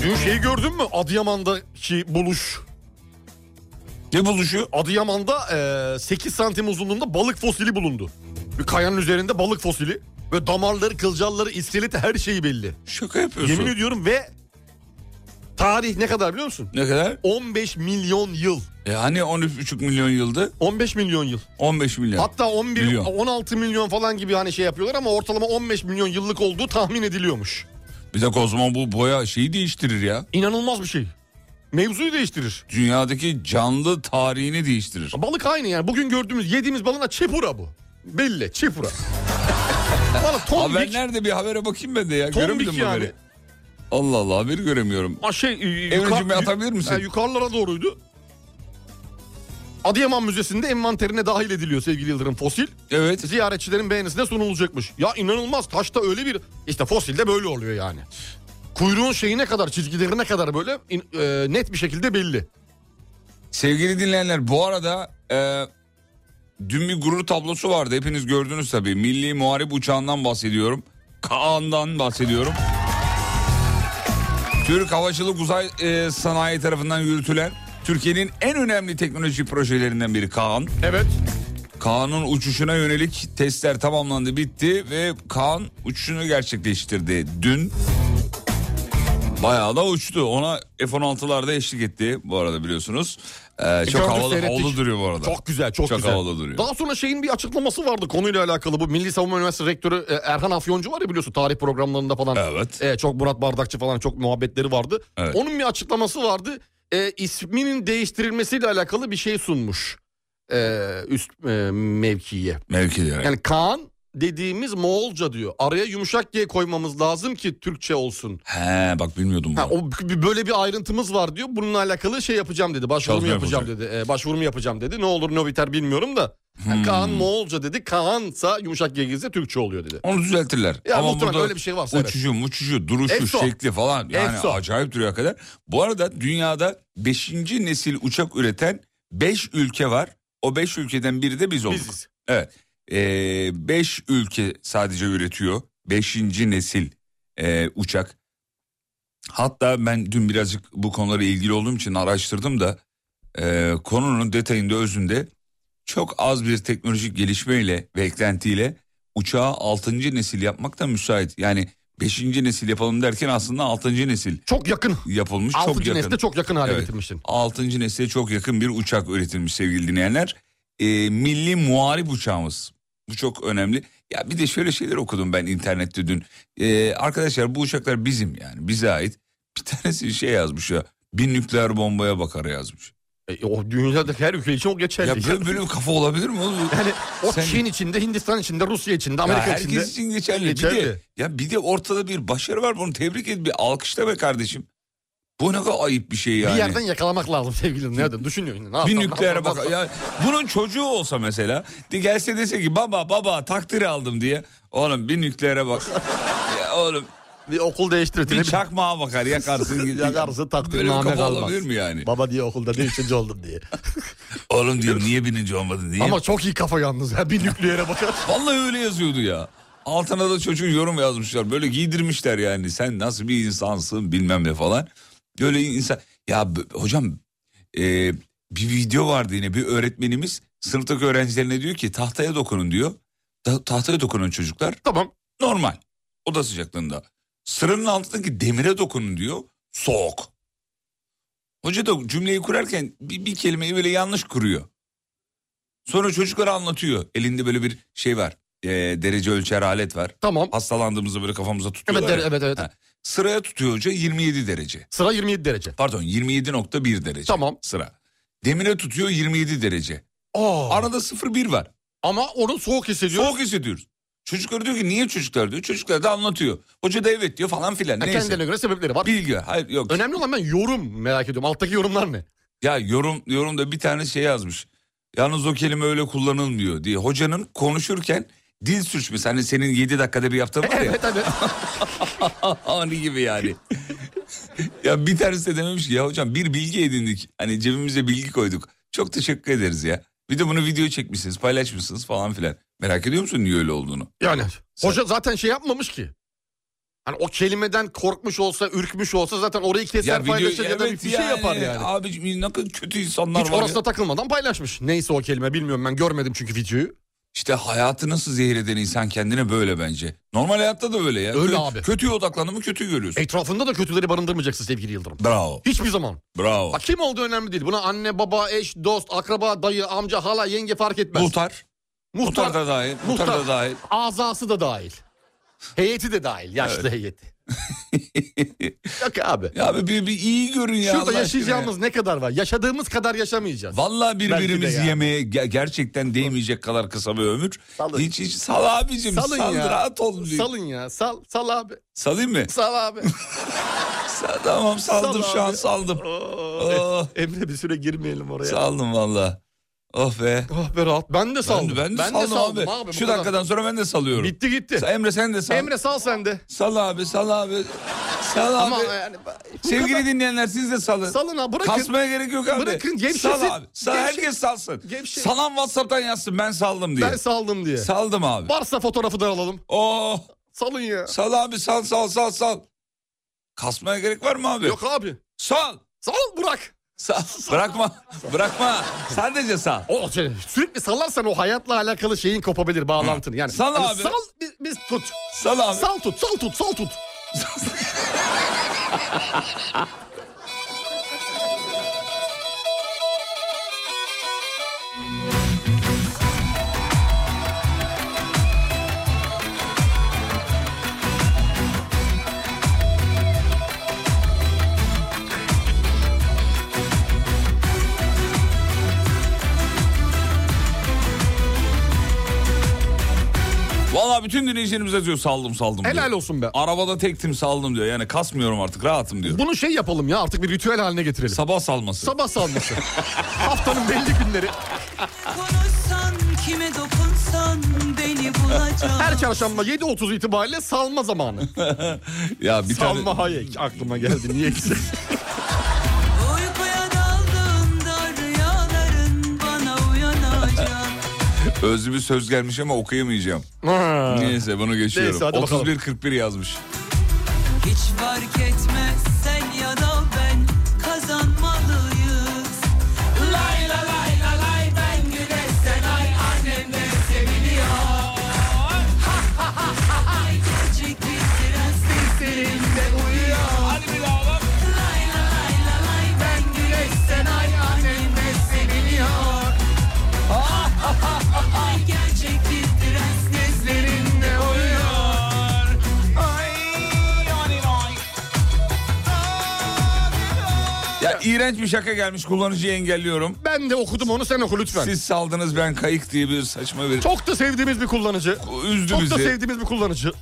Dün şeyi gördün mü? Adıyaman'daki buluş. Ne buluşu? Adıyaman'da e, 8 santim uzunluğunda balık fosili bulundu. Bir kayanın üzerinde balık fosili. Ve damarları, kılcalları, iskeleti her şeyi belli. Şaka yapıyorsun. Yemin ediyorum ve tarih ne kadar biliyor musun? ne kadar? 15 milyon yıl. E hani 13,5 milyon yıldı? 15 milyon yıl. 15 milyon. Hatta 11 Milyon. 16 milyon falan gibi hani şey yapıyorlar ama ortalama 15 milyon yıllık olduğu tahmin ediliyormuş. Bir dakika o zaman bu boya şeyi değiştirir ya. İnanılmaz bir şey. Mevzuyu değiştirir. Dünyadaki canlı tarihini değiştirir. Balık aynı yani. Bugün gördüğümüz yediğimiz balığına çepura bu. Belli çepura. Valla Haber tombik. nerede bir habere bakayım ben de ya. Tombik Göremedim yani. haberi. Allah Allah haberi göremiyorum. Ha şey, Emre'cim bir atabilir misin? Ha, yukarılara doğruydu. Adıyaman Müzesi'nde envanterine dahil ediliyor sevgili Yıldırım fosil. Evet. Ziyaretçilerin beğenisine sunulacakmış. Ya inanılmaz taşta öyle bir işte fosilde böyle oluyor yani. Kuyruğun şeyine kadar çizgilerine kadar böyle in- e, net bir şekilde belli. Sevgili dinleyenler bu arada e, dün bir gurur tablosu vardı. Hepiniz gördünüz tabii. Milli Muharip Uçağı'ndan bahsediyorum. Kaan'dan bahsediyorum. Türk Havacılık Uzay e, Sanayi tarafından yürütülen Türkiye'nin en önemli teknoloji projelerinden biri Kaan. Evet. Kaan'ın uçuşuna yönelik testler tamamlandı bitti ve Kaan uçuşunu gerçekleştirdi dün. Bayağı da uçtu. Ona F-16'lar da eşlik etti bu arada biliyorsunuz. Ee, çok gördük, havalı, E, seyrettik. havalı duruyor bu arada. Çok güzel, çok, Çok güzel. havalı duruyor. Daha sonra şeyin bir açıklaması vardı konuyla alakalı. Bu Milli Savunma Üniversitesi Rektörü e, Erhan Afyoncu var ya biliyorsun tarih programlarında falan. Evet. E, çok Murat Bardakçı falan çok muhabbetleri vardı. Evet. Onun bir açıklaması vardı. E, isminin değiştirilmesiyle alakalı bir şey sunmuş. E, üst e, mevkiye. Mevkileri. Yani Kaan dediğimiz Moğolca diyor. Araya yumuşak G koymamız lazım ki Türkçe olsun. He bak bilmiyordum Ha, bunu. o b- böyle bir ayrıntımız var diyor. Bununla alakalı şey yapacağım dedi. Başvurumu Çalışma yapacağım dedi. Ee, başvurumu yapacağım dedi. Ne olur ne biter bilmiyorum da. Hmm. Yani Kaan Moğolca dedi. Kaan'sa yumuşak G girse Türkçe oluyor dedi. Onu düzeltirler. Ya Ama muhtemelen burada öyle bir şey varsa evet. uçuşu, muçuşu, duruşu, Efso. şekli falan yani Efso. acayip duruyor kadar. Bu arada dünyada 5. nesil uçak üreten 5 ülke var. O 5 ülkeden biri de biz olduk. Biziz. Evet. 5 Ee, ülke sadece üretiyor. 5. nesil e, uçak. Hatta ben dün birazcık bu konulara ilgili olduğum için araştırdım da e, konunun detayında özünde çok az bir teknolojik gelişmeyle ve eklentiyle uçağı 6. nesil yapmak da müsait. Yani 5. nesil yapalım derken aslında 6. nesil Çok yakın. yapılmış çok Altıncı yakın. nesle çok yakın hale Evet. getirmişsin. 6. nesile çok yakın bir uçak üretilmiş sevgili dinleyenler. Ee, milli muharip uçağımız. Bu çok önemli. Ya bir de şöyle şeyler okudum ben internette dün. Ee, arkadaşlar bu uçaklar bizim yani bize ait. Bir tanesi şey yazmış ya. Bir nükleer bombaya bakar yazmış. E, o dünyadaki her ülke için o geçerli. Ya böyle, böyle bir kafa olabilir mi oğlum? Yani o Sen- Çin içinde, Hindistan içinde, Rusya içinde, Ya Amerika herkes içinde. için geçerli. Bir de, Geçerli. ya bir de ortada bir başarı var. Bunu tebrik et. Bir alkışla be kardeşim. Bu ne kadar ayıp bir şey yani. Bir yerden yakalamak lazım sevgilim. Nereden düşünüyorsun? Ne Bir yapsam, ne nükleere yapsam, ne bak. yapsam? Ya bunun çocuğu olsa mesela de gelse dese ki baba baba takdir aldım diye. Oğlum bir nükleere bak. ya oğlum Bir okul değiştirdiğini bir çakmağa bakar yakarsın. gider. Yakarsın, takdir Böyle bir name kafa kalmaz. olabilir mi yani? Baba diye okulda ne üçüncü oldum diye. Oğlum diyor niye birinci olmadın diye. Ama çok iyi kafa yalnız. Ha, bir nükleere bakar. Vallahi öyle yazıyordu ya. Altına da çocuğun yorum yazmışlar. Böyle giydirmişler yani. Sen nasıl bir insansın bilmem ne falan. Böyle insan... Ya b- hocam e, bir video vardı yine bir öğretmenimiz sınıftaki öğrencilerine diyor ki tahtaya dokunun diyor. Ta- tahtaya dokunun çocuklar. tamam. Normal. Oda sıcaklığında. Sıranın altındaki demire dokunun diyor. Soğuk. Hoca da cümleyi kurarken bir, bir kelimeyi böyle yanlış kuruyor. Sonra çocuklara anlatıyor. Elinde böyle bir şey var. Ee, derece ölçer alet var. Tamam. Hastalandığımızda böyle kafamıza tutuyorlar. Evet, ya. evet, evet, evet. Ha. Sıraya tutuyor hoca 27 derece. Sıra 27 derece. Pardon 27.1 derece. Tamam. Sıra. Demire tutuyor 27 derece. Aa, Arada 0-1 var. ama onu soğuk hissediyor. Soğuk hissediyoruz. Çocuklar diyor ki niye çocuklar diyor. Çocuklar da anlatıyor. Hoca da evet diyor falan filan. Ha, Neyse. Kendine göre sebepleri var. Bilgi. Hayır yok. Önemli olan ben yorum merak ediyorum. Alttaki yorumlar ne? Ya yorum yorumda bir tane şey yazmış. Yalnız o kelime öyle kullanılmıyor diye. Hocanın konuşurken dil sürçmesi. Hani senin 7 dakikada bir yaptığın var ya. Evet evet. Ani gibi yani. ya bir tanesi de dememiş ki ya hocam bir bilgi edindik. Hani cebimize bilgi koyduk. Çok teşekkür ederiz ya. Bir de bunu video çekmişsiniz, paylaşmışsınız falan filan. Merak ediyor musun niye öyle olduğunu? Yani hoca zaten şey yapmamış ki. Hani o kelimeden korkmuş olsa, ürkmüş olsa zaten orayı keser paylaşır ya da bir evet bir şey yapar yani. Abiciğim ne kadar kötü insanlar Hiç var orasına ya. takılmadan paylaşmış. Neyse o kelime bilmiyorum ben görmedim çünkü videoyu. İşte hayatı nasıl zehir eden insan kendine böyle bence. Normal hayatta da böyle ya. Öyle Kö- abi. Kötüye odaklandın mı kötü görüyorsun. Etrafında da kötüleri barındırmayacaksın sevgili Yıldırım. Bravo. Hiçbir zaman. Bravo. E- Bak kim olduğu önemli değil. Buna anne, baba, eş, dost, akraba, dayı, amca, hala, yenge fark etmez. Muhtar. Muhtar da dahil. Muhtar da dahil. Azası da dahil. Heyeti de dahil. Yaşlı heyeti. Yok abi. Ya abi bir, bir iyi görün ya. Şurada Allah yaşayacağımız aşkına. ne kadar var? Yaşadığımız kadar yaşamayacağız. Vallahi birbirimizi Belki de yemeye ge- gerçekten değmeyecek kadar kısa bir ömür. Salın. Hiç hiç sal abicim. Salın sal, ya. rahat ol. diyor. Salın ya. Sal, sal abi. Salayım mı? Sal abi. Sa- tamam saldım Sal şu an abi. saldım. Oh, Emre bir süre girmeyelim oraya. saldım valla. Oh be. Ah be rahat. Ben de Ben saldım. de, ben de saldım, abi. bu Şu kadar. dakikadan sonra ben de salıyorum. Bitti gitti. Emre sen de sal. Emre sal sen de. Sal abi sal abi. Sal abi. Ama yani bu Sevgili kadar- dinleyenler siz de salın. salın ha bırakın. Kasmaya gerek yok abi. Bırakın, gevşesin. Sal abi. Sal, Gevşe- herkes salsın. Gevşe- Salan Whatsapp'tan yazsın ben saldım diye. Ben saldım diye. Saldım abi. Varsa fotoğrafı da alalım. Oh Salın ya. sal abi sal sal sal sal. Kasmaya gerek var mı abi? Yok abi. Sal. Sal bırak. Sal. Bırakma. Bırakma. Sadece sal. O şey, sürekli sallarsan o hayatla alakalı şeyin kopabilir bağlantın. Yani Sal Hani abi. Sal biz, biz tut. Sal abi. Sal tut, sal tut, sal tut. Bu Valla bütün dinleyicilerimiz yazıyor saldım saldım diyor. Helal olsun be. Arabada tektim saldım diyor. Yani kasmıyorum artık rahatım diyor. Bunu şey yapalım ya artık bir ritüel haline getirelim. Sabah salması. Sabah salması. Haftanın belli günleri. Konuşsan kime dokunsan beni bulacak. Her çarşamba 7.30 itibariyle salma zamanı. ya bir tane salma Hayek aklıma geldi niye ki? Uykuya daldığında rüyaların bana uyanacak. özlü bir söz gelmiş ama okuyamayacağım. Ha. Neyse bunu geçiyorum. Neyse, hadi bakalım. 31-41 yazmış. Hiç fark etmez sen ya da ben kazanmalıyız. Lay la lay la lay ben güneş sen ay annem de seviniyor. Ha, ha, ha, ha, ay gerçek bir prens seslerimde uyuyor. Lay la lay la lay ben güneş sen ay annem de seviniyor. Ha, ha, ha, ha, ay gerçek bir prens seslerimde uyuyor. Ya iğrenç bir şaka gelmiş kullanıcıyı engelliyorum. Ben de okudum onu sen oku lütfen. Siz saldınız ben kayık diye bir saçma bir... Çok da sevdiğimiz bir kullanıcı. Üzdü Çok bizi. da sevdiğimiz bir kullanıcı.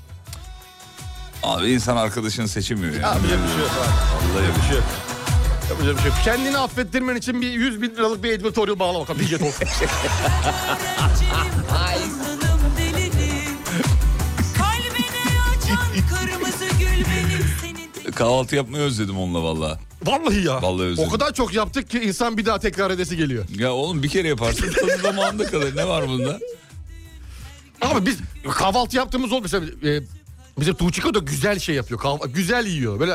Abi insan arkadaşını seçemiyor ya. Yapacak bir şey yok. Vallahi bir şey. Yapacak bir şey yok. Kendini affettirmen için bir 100 bin liralık bir editorial bağla bakalım. Bilge Tol. Kızgınım delinim Kalbini açan kırmızı gül benim senin Kahvaltı yapmayı özledim onunla valla. Vallahi ya. Vallahi özledim. o kadar çok yaptık ki insan bir daha tekrar edesi geliyor. Ya oğlum bir kere yaparsın tadı zamanında kalır. Ne var bunda? Ama biz kahvaltı yaptığımız olmuş. Mesela, e, bizim Tuğçiko da güzel şey yapıyor. Kahva- güzel yiyor. Böyle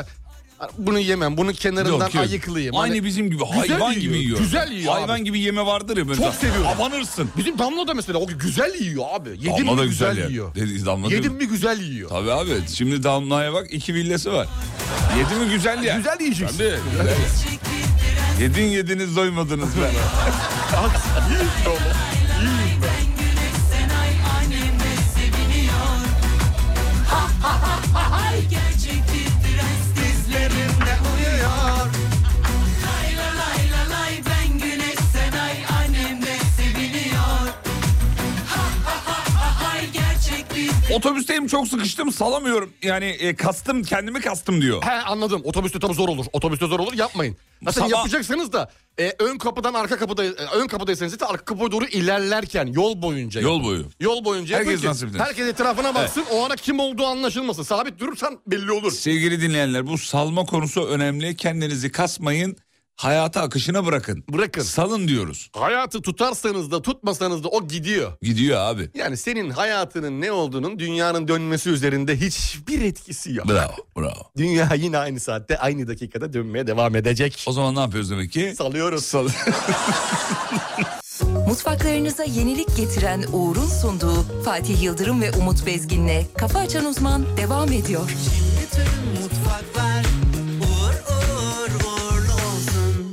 hani bunu yemem, bunun kenarından Yok, yok. ayıklayayım. Aynı Hani bizim gibi Güzel hayvan yiyor, gibi yiyor. güzel yiyor Hayvan abi. gibi yeme vardır ya. böyle. Çok seviyorum. Abanırsın. Bizim Damla da mesela o güzel yiyor abi. Yedim Damla mi da güzel, güzel ya. yiyor. Dedi, damla değil Yedim mi? mi güzel yiyor. Tabii abi şimdi Damla'ya bak iki villası var. Yedi mi güzel ya. Güzel yiyeceksin. Tabii. güzel. Yedin yediniz doymadınız ben. Otobüsteyim çok sıkıştım salamıyorum. Yani e, kastım kendimi kastım diyor. He anladım. Otobüste tabii zor olur. Otobüste zor olur yapmayın. Zaten Sabah- yapacaksanız da e, ön kapıdan arka kapıda e, ön kapıdaysanız da arka kapıya doğru ilerlerken yol boyunca. yapın. Yol boyu. Yol boyunca yapın Herkes ki nasip eder. Herkes etrafına baksın. O ara kim olduğu anlaşılmasın. Sabit durursan belli olur. Sevgili dinleyenler bu salma konusu önemli. Kendinizi kasmayın. Hayata akışına bırakın. Bırakın. Salın diyoruz. Hayatı tutarsanız da tutmasanız da o gidiyor. Gidiyor abi. Yani senin hayatının ne olduğunun dünyanın dönmesi üzerinde hiçbir etkisi yok. Bravo bravo. Dünya yine aynı saatte aynı dakikada dönmeye devam edecek. O zaman ne yapıyoruz demek ki? Salıyoruz. Mutfaklarınıza yenilik getiren Uğur'un sunduğu Fatih Yıldırım ve Umut Bezgin'le Kafa Açan Uzman devam ediyor. Bütün mutfaklar uğur uğur uğurlu olsun.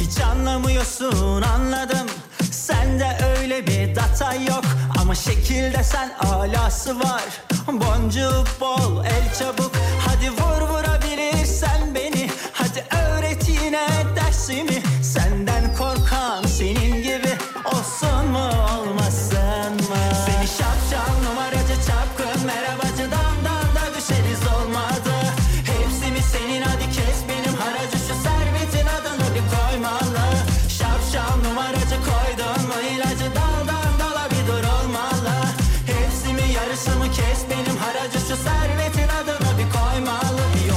Hiç anlamıyorsun anladım Sende öyle bir data yok Ama şekilde sen alası var Boncuk bol el çabuk Hadi vur vurabilirsen beni Hadi öğret yine dersimi Senden korkan senin gibi Olsun mu olmasın mı Seni şapşal numaracı çapkın Merhabacı damdan da düşeriz olmadı Hepsi mi senin hadi kes benim haracı Şu servetin adını bir koymalı Şapşal numaracı koydun mu ilacı Daldan dala bir dur olmalı Hepsi mi yarısı mı kes benim haracı Şu servetin adını bir koymalı Bir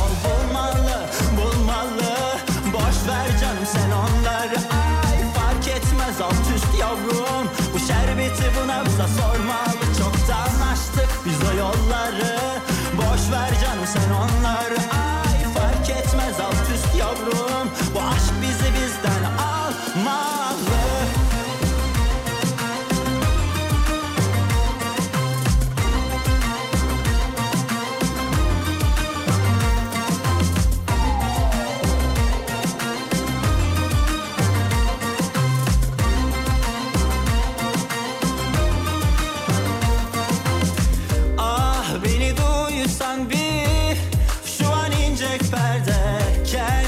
Ah,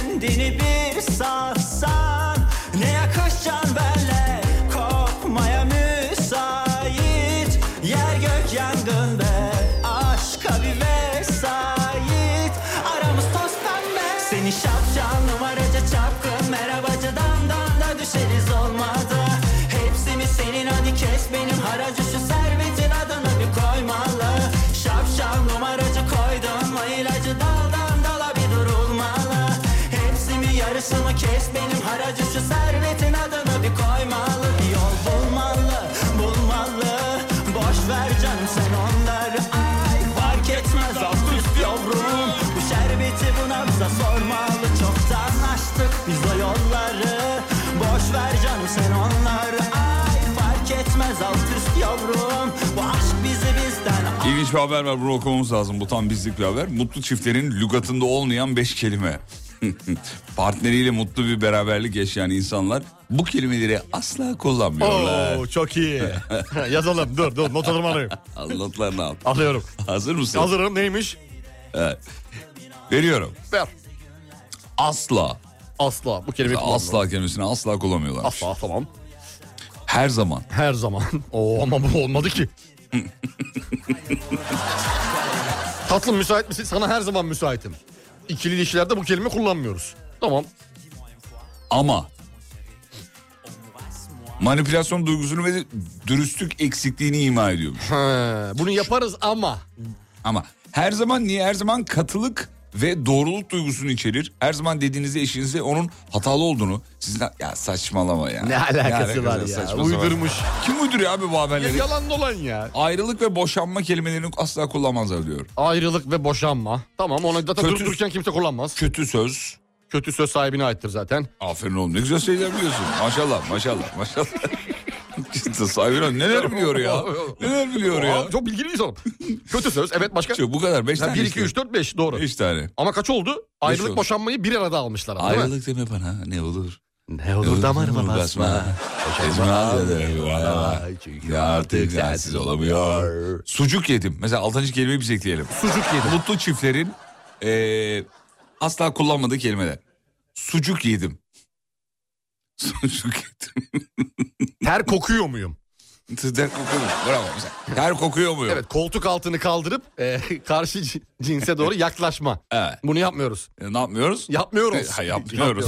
şu haber var bunu okumamız lazım. Bu tam bizlik bir haber. Mutlu çiftlerin lügatında olmayan beş kelime. Partneriyle mutlu bir beraberlik yaşayan insanlar bu kelimeleri asla kullanmıyorlar. Oo, çok iyi. Yazalım dur dur not alırım alayım. Anlatlarını al. Alıyorum. Hazır mısın? Hazırım neymiş? Veriyorum. Ver. Asla. Asla bu kelime kullanmıyorum. Asla kelimesini asla kullanmıyorlar. Asla tamam. Her zaman. Her zaman. Oo ama bu olmadı ki. Tatlım müsait misin? Sana her zaman müsaitim. İkili ilişkilerde bu kelime kullanmıyoruz. Tamam. Ama manipülasyon duygusunu ve dürüstlük eksikliğini ima ediyormuş. He, bunu yaparız ama. Ama her zaman niye? Her zaman katılık ve doğruluk duygusunu içerir. Her zaman dediğinizde eşinize onun hatalı olduğunu sizden ya saçmalama ya. Ne alakası var ya? saçma sapan. Uydurmuş. Kim uyduruyor abi bu Ya haberleri? yalan dolan ya. Ayrılık ve boşanma kelimelerini asla kullanmazlar diyor. Ayrılık ve boşanma. Tamam ona zaten Kötü- durup dururken kimse kullanmaz. Kötü söz. Kötü söz sahibine aittir zaten. Aferin oğlum ne güzel şeyler biliyorsun. Maşallah maşallah maşallah. Cidden sahibi lan, neler biliyor ya. Neler biliyor ya. Aa, çok bilgili bir insanım. Kötü söz evet başka. Şu, bu kadar 5 tane. 1, 2, 3, 4, 5 doğru. 5 tane. Ama kaç oldu? Ayrılık oldu. boşanmayı bir arada almışlar ama değil mi? Ayrılık deme bana ne olur. Ne Olur damarıma basma. Ezme bana. Ya artık sensiz olamıyor. Sucuk yedim. Mesela altıncı kelimeyi biz ekleyelim. Sucuk yedim. Mutlu çiftlerin eee, asla kullanmadığı kelimeler. Sucuk yedim. Sucuk yedim. Ter kokuyor muyum? Ter kokuyor mu? Bravo. Mesela Ter kokuyor mu? Evet koltuk altını kaldırıp e, karşı c- cinse doğru yaklaşma. Evet. Bunu yapmıyoruz. E, Ne yapmıyoruz? Yapmıyoruz. E, Ha, yapmıyoruz.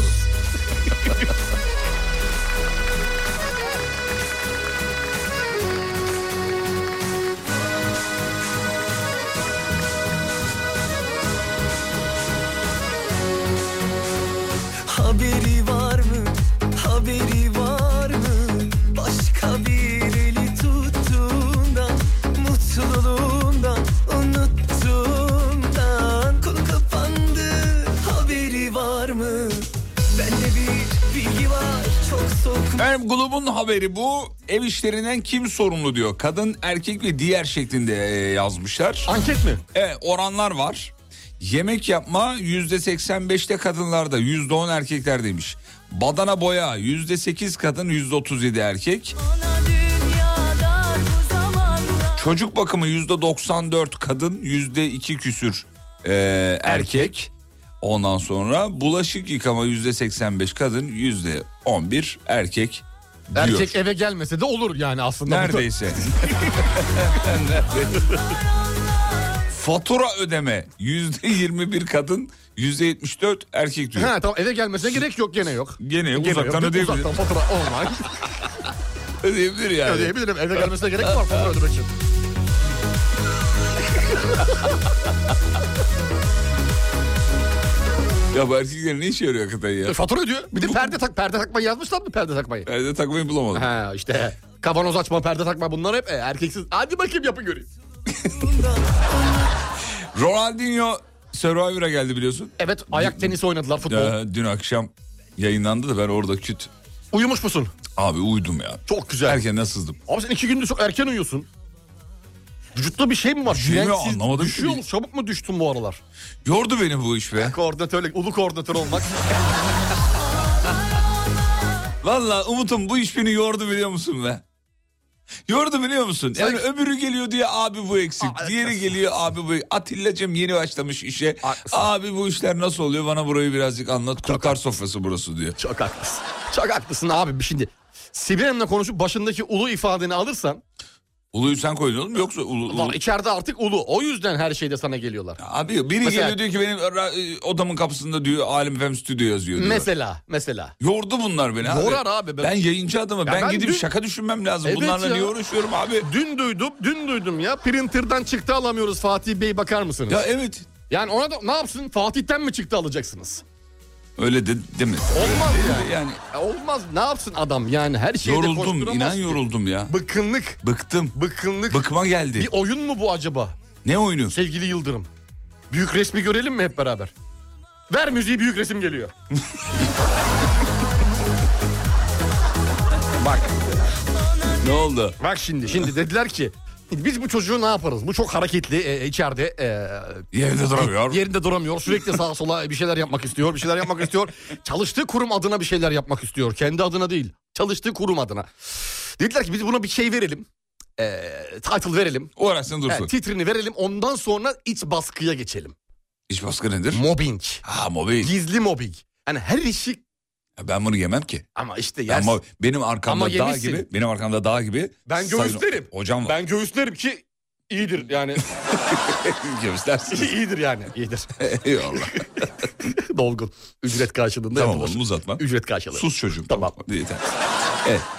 Haberi var mı? Haberi var mı? Başka bir eli tuttuğundan Mutluluğundan Unuttuğundan Konu kapandı Haberi var mı? Bende bir bilgi var Çok soğuk Efendim grubun haberi bu. Ev işlerinden kim sorumlu diyor. Kadın, erkek ve diğer şeklinde e, yazmışlar. Anket mi? Evet oranlar var. Yemek yapma yüzde 85'te kadınlarda yüzde 10 erkekler demiş. Badana boya yüzde 8 kadın yüzde 37 erkek. Ana dünyada bu zamanlar Çocuk bakımı yüzde 94 kadın yüzde 2 küsür e, erkek. Ondan sonra bulaşık yıkama yüzde 85 kadın yüzde 11 erkek diyor. Erkek eve gelmese de olur yani aslında. Neredeyse. Neredeyse. Fatura ödeme yüzde 21 kadın yüzde 74 erkek diyor. Ha tamam eve gelmesine gerek yok gene yok. Gene Gene yok. uzaktan Biz ödeyebilir. Uzaktan fatura online Ödeyebilir yani. ödeyebilirim. Eve gelmesine gerek var fatura ödemek için. Ya bu erkekler ne işe yarıyor hakikaten ya? E, Fatura ödüyor. Bir de perde tak perde takmayı yazmışlar mı perde takmayı? Perde takmayı bulamadım. Ha işte kavanoz açma perde takma bunlar hep e, erkeksiz. Hadi bakayım yapın göreyim. Ronaldinho Survivor'a geldi biliyorsun. Evet ayak tenisi oynadılar futbol. Ee, dün akşam yayınlandı da ben orada küt. Uyumuş musun? Abi uyudum ya. Çok güzel. Erken sızdım. Abi sen iki gündür çok erken uyuyorsun. Vücutta bir şey mi var? Bilmiyorum, Güvensiz- anlamadım ki. Düşüyor musun? Çabuk mu düştün bu aralar? Yordu beni bu iş be. Koordinatörlük, ulu koordinatör olmak. Valla Umut'um bu iş beni yordu biliyor musun be? Yordu biliyor musun? Yani öbürü geliyor diye abi bu eksik. Diğeri geliyor abi bu Atilla'cığım yeni başlamış işe. Haklısın. Abi bu işler nasıl oluyor bana burayı birazcık anlat. Kurtar sofrası burası diyor. çok haklısın. Çok haklısın abi. Şimdi Sibel Hanım'la konuşup başındaki ulu ifadeni alırsan Uluyu sen koydun oğlum yoksa ulu, ulu- ulan içeride artık ulu. O yüzden her şeyde sana geliyorlar. Abi biri Mesela- geliyor diyor ki benim ra- e, odamın kapısında diyor Alim Efem Stüdyo yazıyor diyor. Mesela, mesela. Yordu bunlar beni abi. Yorar abi. Ben, Ben- yayıncı adamım. Ya ben, ben gidip dün- şaka düşünmem lazım. Evet Bunlarla ya. niye uğraşıyorum abi? Dün duydum, dün duydum ya. Printer'dan çıktı alamıyoruz Fatih Bey bakar mısınız? Ya evet. Yani ona da ne yapsın? Fatih'ten mi çıktı alacaksınız? Öyle de, değil mi? Olmaz Yani, yani. Ya olmaz. Ne yapsın adam yani her şeyde yoruldum. koşturamaz inan ki. yoruldum ya. Bıkkınlık. Bıktım. Bıkkınlık. Bıkma geldi. Bir oyun mu bu acaba Ne oyunu? sevgili Yıldırım? Büyük resmi görelim mi hep beraber? Ver müziği büyük resim geliyor. Ne oldu? Bak şimdi şimdi dediler ki Biz bu çocuğu ne yaparız? Bu çok hareketli e, içeride. e, Yerinde duramıyor. Yerinde duramıyor. Sürekli sağa sola e, bir şeyler yapmak istiyor. Bir şeyler yapmak istiyor. Çalıştığı kurum adına bir şeyler yapmak istiyor. Kendi adına değil. Çalıştığı kurum adına. Dediler ki biz buna bir şey verelim. E, title verelim. Uğraşsın dursun. E, titrini verelim. Ondan sonra iç baskıya geçelim. İş baskı nedir? Mobbing. Ha mobbing. Gizli mobbing. Yani her işi Ya Ben bunu yemem ki. ama işte Ben yersin. mob- benim arkamda Ama dağ yemişsin. gibi, benim arkamda dağ gibi. Ben sayın- göğüslerim. Hocam var. Ben göğüslerim ki iyidir yani. Ben göğüslersin. iyidir yani. İyidir. Eyvallah. Dolgun. Ücret karşılığında tamam yapılır. oğlum uzatma. Ücret karşılığı. Sus çocuğum. Tamam. Yeter. Evet.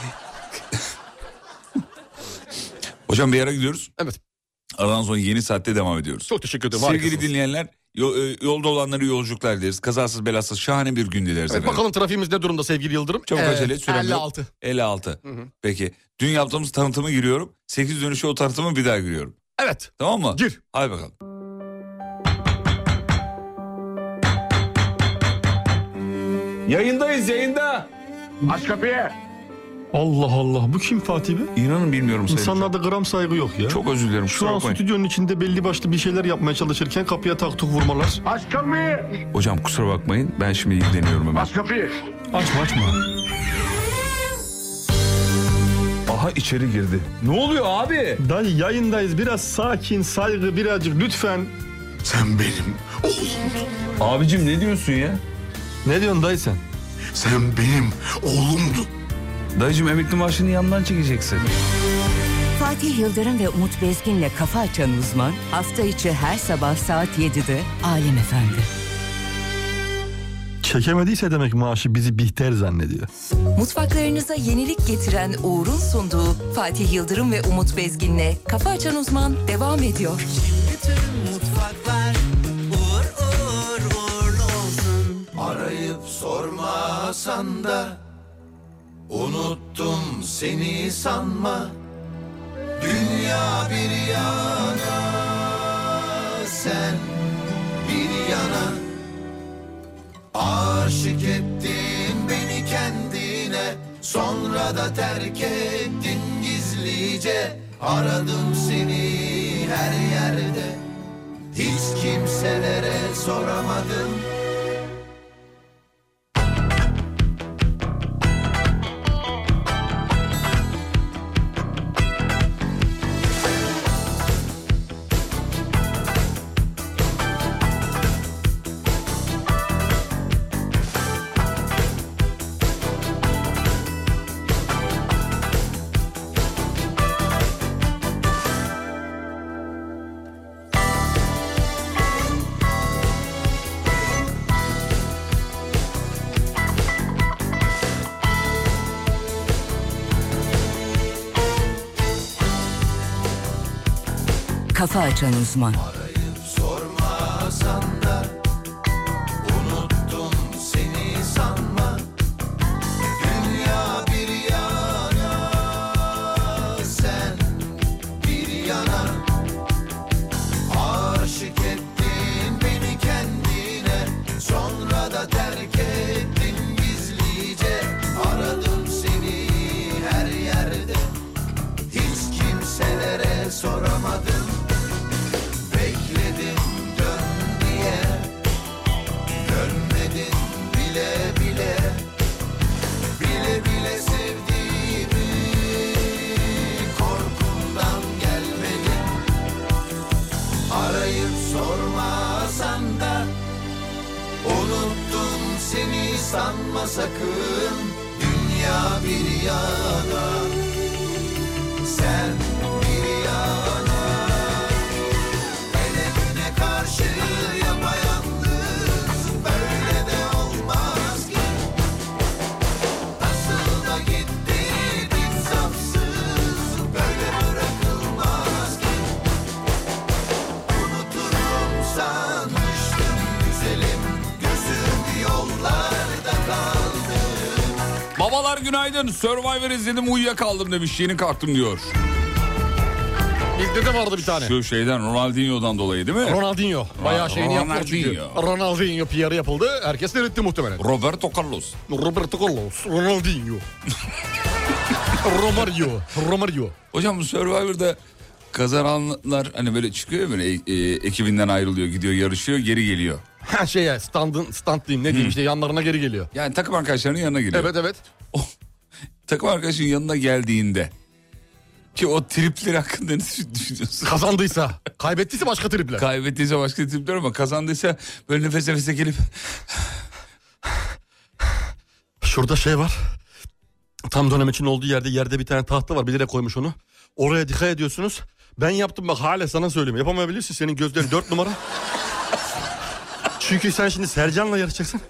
Hocam bir yere gidiyoruz. Evet. Aradan sonra yeni saatte devam ediyoruz. Çok teşekkür ederim. Sevgili harikasınız. dinleyenler yo- e, yolda olanları yolculuklar dileriz. Kazasız belasız şahane bir gün dileriz. Evet, efendim. bakalım trafiğimiz ne durumda sevgili Yıldırım? Ee, Çabuk acele et, sürem yok. 56. 56. hı. Peki. Dün yaptığımız tanıtımı giriyorum. 8 dönüşe o tanıtımı bir daha giriyorum. Evet. Tamam mı? Gir. Hadi bakalım. Yayındayız yayında. Allah Allah bu kim Fatih be? İnanın bilmiyorum sayın hocam. İnsanlarda gram saygı yok ya. Çok özür dilerim. Şu kusura an bakmayın. stüdyonun içinde belli başlı bir şeyler yapmaya çalışırken kapıya taktuk vurmalar. Hocam kusura bakmayın. Ben şimdi ilgileniyorum hemen. Açma açma. Aha içeri girdi. Ne oluyor abi? Dayı yayındayız biraz sakin saygı birazcık lütfen. Sen benim oğlumdun. Abicim ne diyorsun ya? Ne diyorsun dayı sen? Sen benim oğlumdun. Dayıcım emekli maaşını yandan çekeceksin. Fatih Yıldırım ve Umut Bezgin'le Kafa Açan Uzman hafta içi her sabah saat 7'de Alem Efendi. Çekemediyse demek maaşı bizi bihter zannediyor. Mutfaklarınıza yenilik getiren Uğur'un sunduğu Fatih Yıldırım ve Umut Bezgin'le Kafa Açan Uzman devam ediyor. Bütün mutfaklar uğur uğur uğurlu olsun Arayıp sormasan da Unuttum seni sanma Dünya bir yana Sen bir yana Aşık ettin beni kendine Sonra da terk ettin gizlice Aradım seni her yerde Hiç kimselere soramadım Kafa Açan Uzman. sormasan da unuttum seni sanma dünya bir yana sen bir yana aşık ettin beni kendine sonra da terk ettin gizlice aradım seni her yerde hiç kimselere soramadım Bekledim dön diye Dönmedin bile bile Bile bile sevdiğimi Korkumdan gelmedim Arayıp sormasan da Unuttum seni sanma sakın Dünya bir yana Sen bir yana Elemine karşı yapayalnız Böyle de olmaz ki Nasıl da gittin insafsız Böyle bırakılmaz ki Unuturum sanmıştım güzelim Gözüm yollarda kaldı Babalar günaydın. Survivor izledim uyuyakaldım demiş. Yeni kalktım diyor. Bizde de vardı bir tane. Şu şeyden Ronaldinho'dan dolayı değil mi? Ronaldinho. Bayağı şeyini yaptılar çünkü. Ronaldinho. Ronaldinho PR'ı yapıldı. Herkes seyretti muhtemelen. Roberto Carlos. Roberto Carlos. Ronaldinho. Romario. Romario. Hocam bu Survivor'da kazananlar hani böyle çıkıyor ya böyle e- e- ekibinden ayrılıyor gidiyor yarışıyor geri geliyor. Ha şey ya standın, stand diyeyim ne diyeyim işte yanlarına geri geliyor. Yani takım arkadaşlarının yanına geliyor. Evet evet. Takım arkadaşının yanına geldiğinde ki o tripleri hakkında ne düşünüyorsun? Kazandıysa. Kaybettiyse başka tripler. Kaybettiyse başka tripler ama kazandıysa böyle nefes nefese gelip Şurada şey var. Tam dönem için olduğu yerde yerde bir tane tahta var bilerek koymuş onu. Oraya dikkat ediyorsunuz. Ben yaptım bak hala sana söylüyorum. Yapamayabilirsin senin gözlerin dört numara. Çünkü sen şimdi Sercan'la yarışacaksın.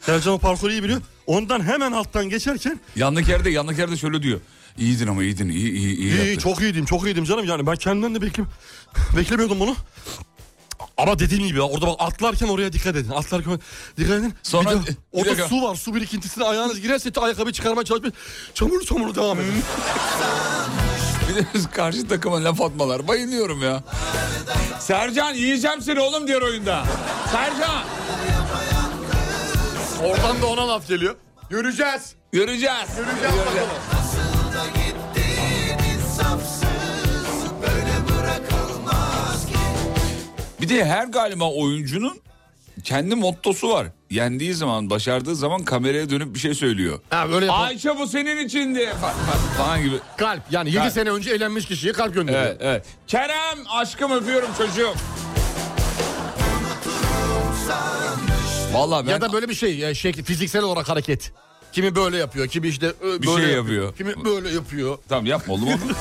Sercan o parkuru iyi biliyor. Ondan hemen alttan geçerken yanlık yerde yanlık yerde şöyle diyor. İyiydin ama iyiydin iyi iyi iyi. iyi, iyi, yaptın." çok iyiydim çok iyiydim canım yani ben kendimden de bekle beklemiyordum bunu. Ama dediğim gibi ya, orada bak atlarken oraya dikkat edin. Atlarken dikkat edin. Sonra- Bir de bir orada dakika. su var. Su birikintisine ayağınız girerse de ayakkabı çıkarmaya çalışmayın. Çamur çamur devam edin. Hmm. Bir de karşı takıma laf atmalar. Bayılıyorum ya. Sercan yiyeceğim seni oğlum diyor oyunda. Sercan. Oradan da ona laf geliyor. Göreceğiz. Göreceğiz. Göreceğiz bakalım. Nasıl da gittin insafsız Böyle bırakılmaz ki Bir de her galiba oyuncunun kendi mottosu var. Yendiği zaman, başardığı zaman kameraya dönüp bir şey söylüyor. Ha böyle yapalım. Ayça bu senin içindi fa- fa- falan gibi. Kalp yani 7 sene önce eğlenmiş kişiye kalp gönderiyor. Evet, evet. Kerem aşkım öpüyorum çocuğum. Vallahi ben Ya da böyle bir şey, e, şey fiziksel olarak hareket. Kimi böyle yapıyor, kimi işte ö, böyle Bir şey yapıyor. Kimi böyle yapıyor. Tamam yapma oğlum onu.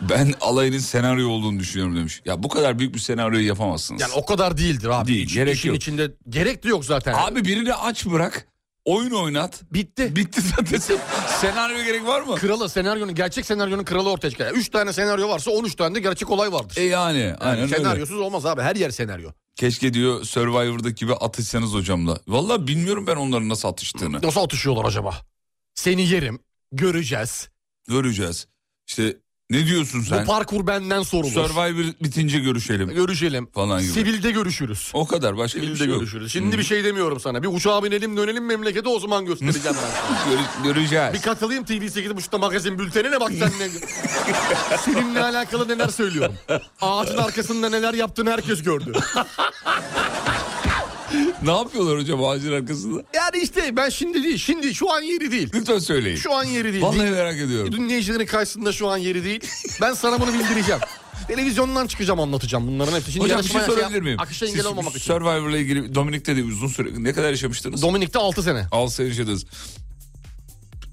ben alayının senaryo olduğunu düşünüyorum demiş. Ya bu kadar büyük bir senaryoyu yapamazsınız. Yani o kadar değildir abi. Değil, gerek İşin yok. içinde gerek de yok zaten. Abi birini aç bırak. Oyun oynat. Bitti. Bitti zaten. senaryo gerek var mı? Kralı senaryonun gerçek senaryonun kralı ortaya çıkar. 3 tane senaryo varsa 13 tane de gerçek olay vardır. E yani, aynen öyle. senaryosuz olmaz abi. Her yer senaryo. Keşke diyor Survivor'daki gibi atışsanız hocamla. Vallahi bilmiyorum ben onların nasıl atıştığını. Nasıl atışıyorlar acaba? Seni yerim. Göreceğiz. Göreceğiz. İşte ne diyorsun sen? Bu parkur benden sorulur. Survivor bitince görüşelim. Görüşelim. Falan gibi. Sivilde görüşürüz. O kadar başka bir Sivilde şey yok. görüşürüz. Şimdi bir şey demiyorum sana. Bir uçağa binelim dönelim memlekete o zaman göstereceğim ben sana. Gör- göreceğiz. Bir katılayım TV 8.30'da magazin bültenine bak sen ne... Seninle alakalı neler söylüyorum. Ağacın arkasında neler yaptığını herkes gördü. Ne yapıyorlar hocam ağacın arkasında? Yani işte ben şimdi değil, şimdi şu an yeri değil. Lütfen söyleyin. Şu an yeri değil. Vallahi Din- merak ediyorum. Dinleyicilerin karşısında şu an yeri değil. Ben sana bunu bildireceğim. Televizyondan çıkacağım anlatacağım bunların hepsini. Şimdi Hocam bir şey yarışmaya- sorabilir miyim? Akışa engel Siz olmamak için. Survivor'la ilgili Dominik'te de uzun süre ne kadar yaşamıştınız? Dominik'te 6 sene. Al seni yaşadınız.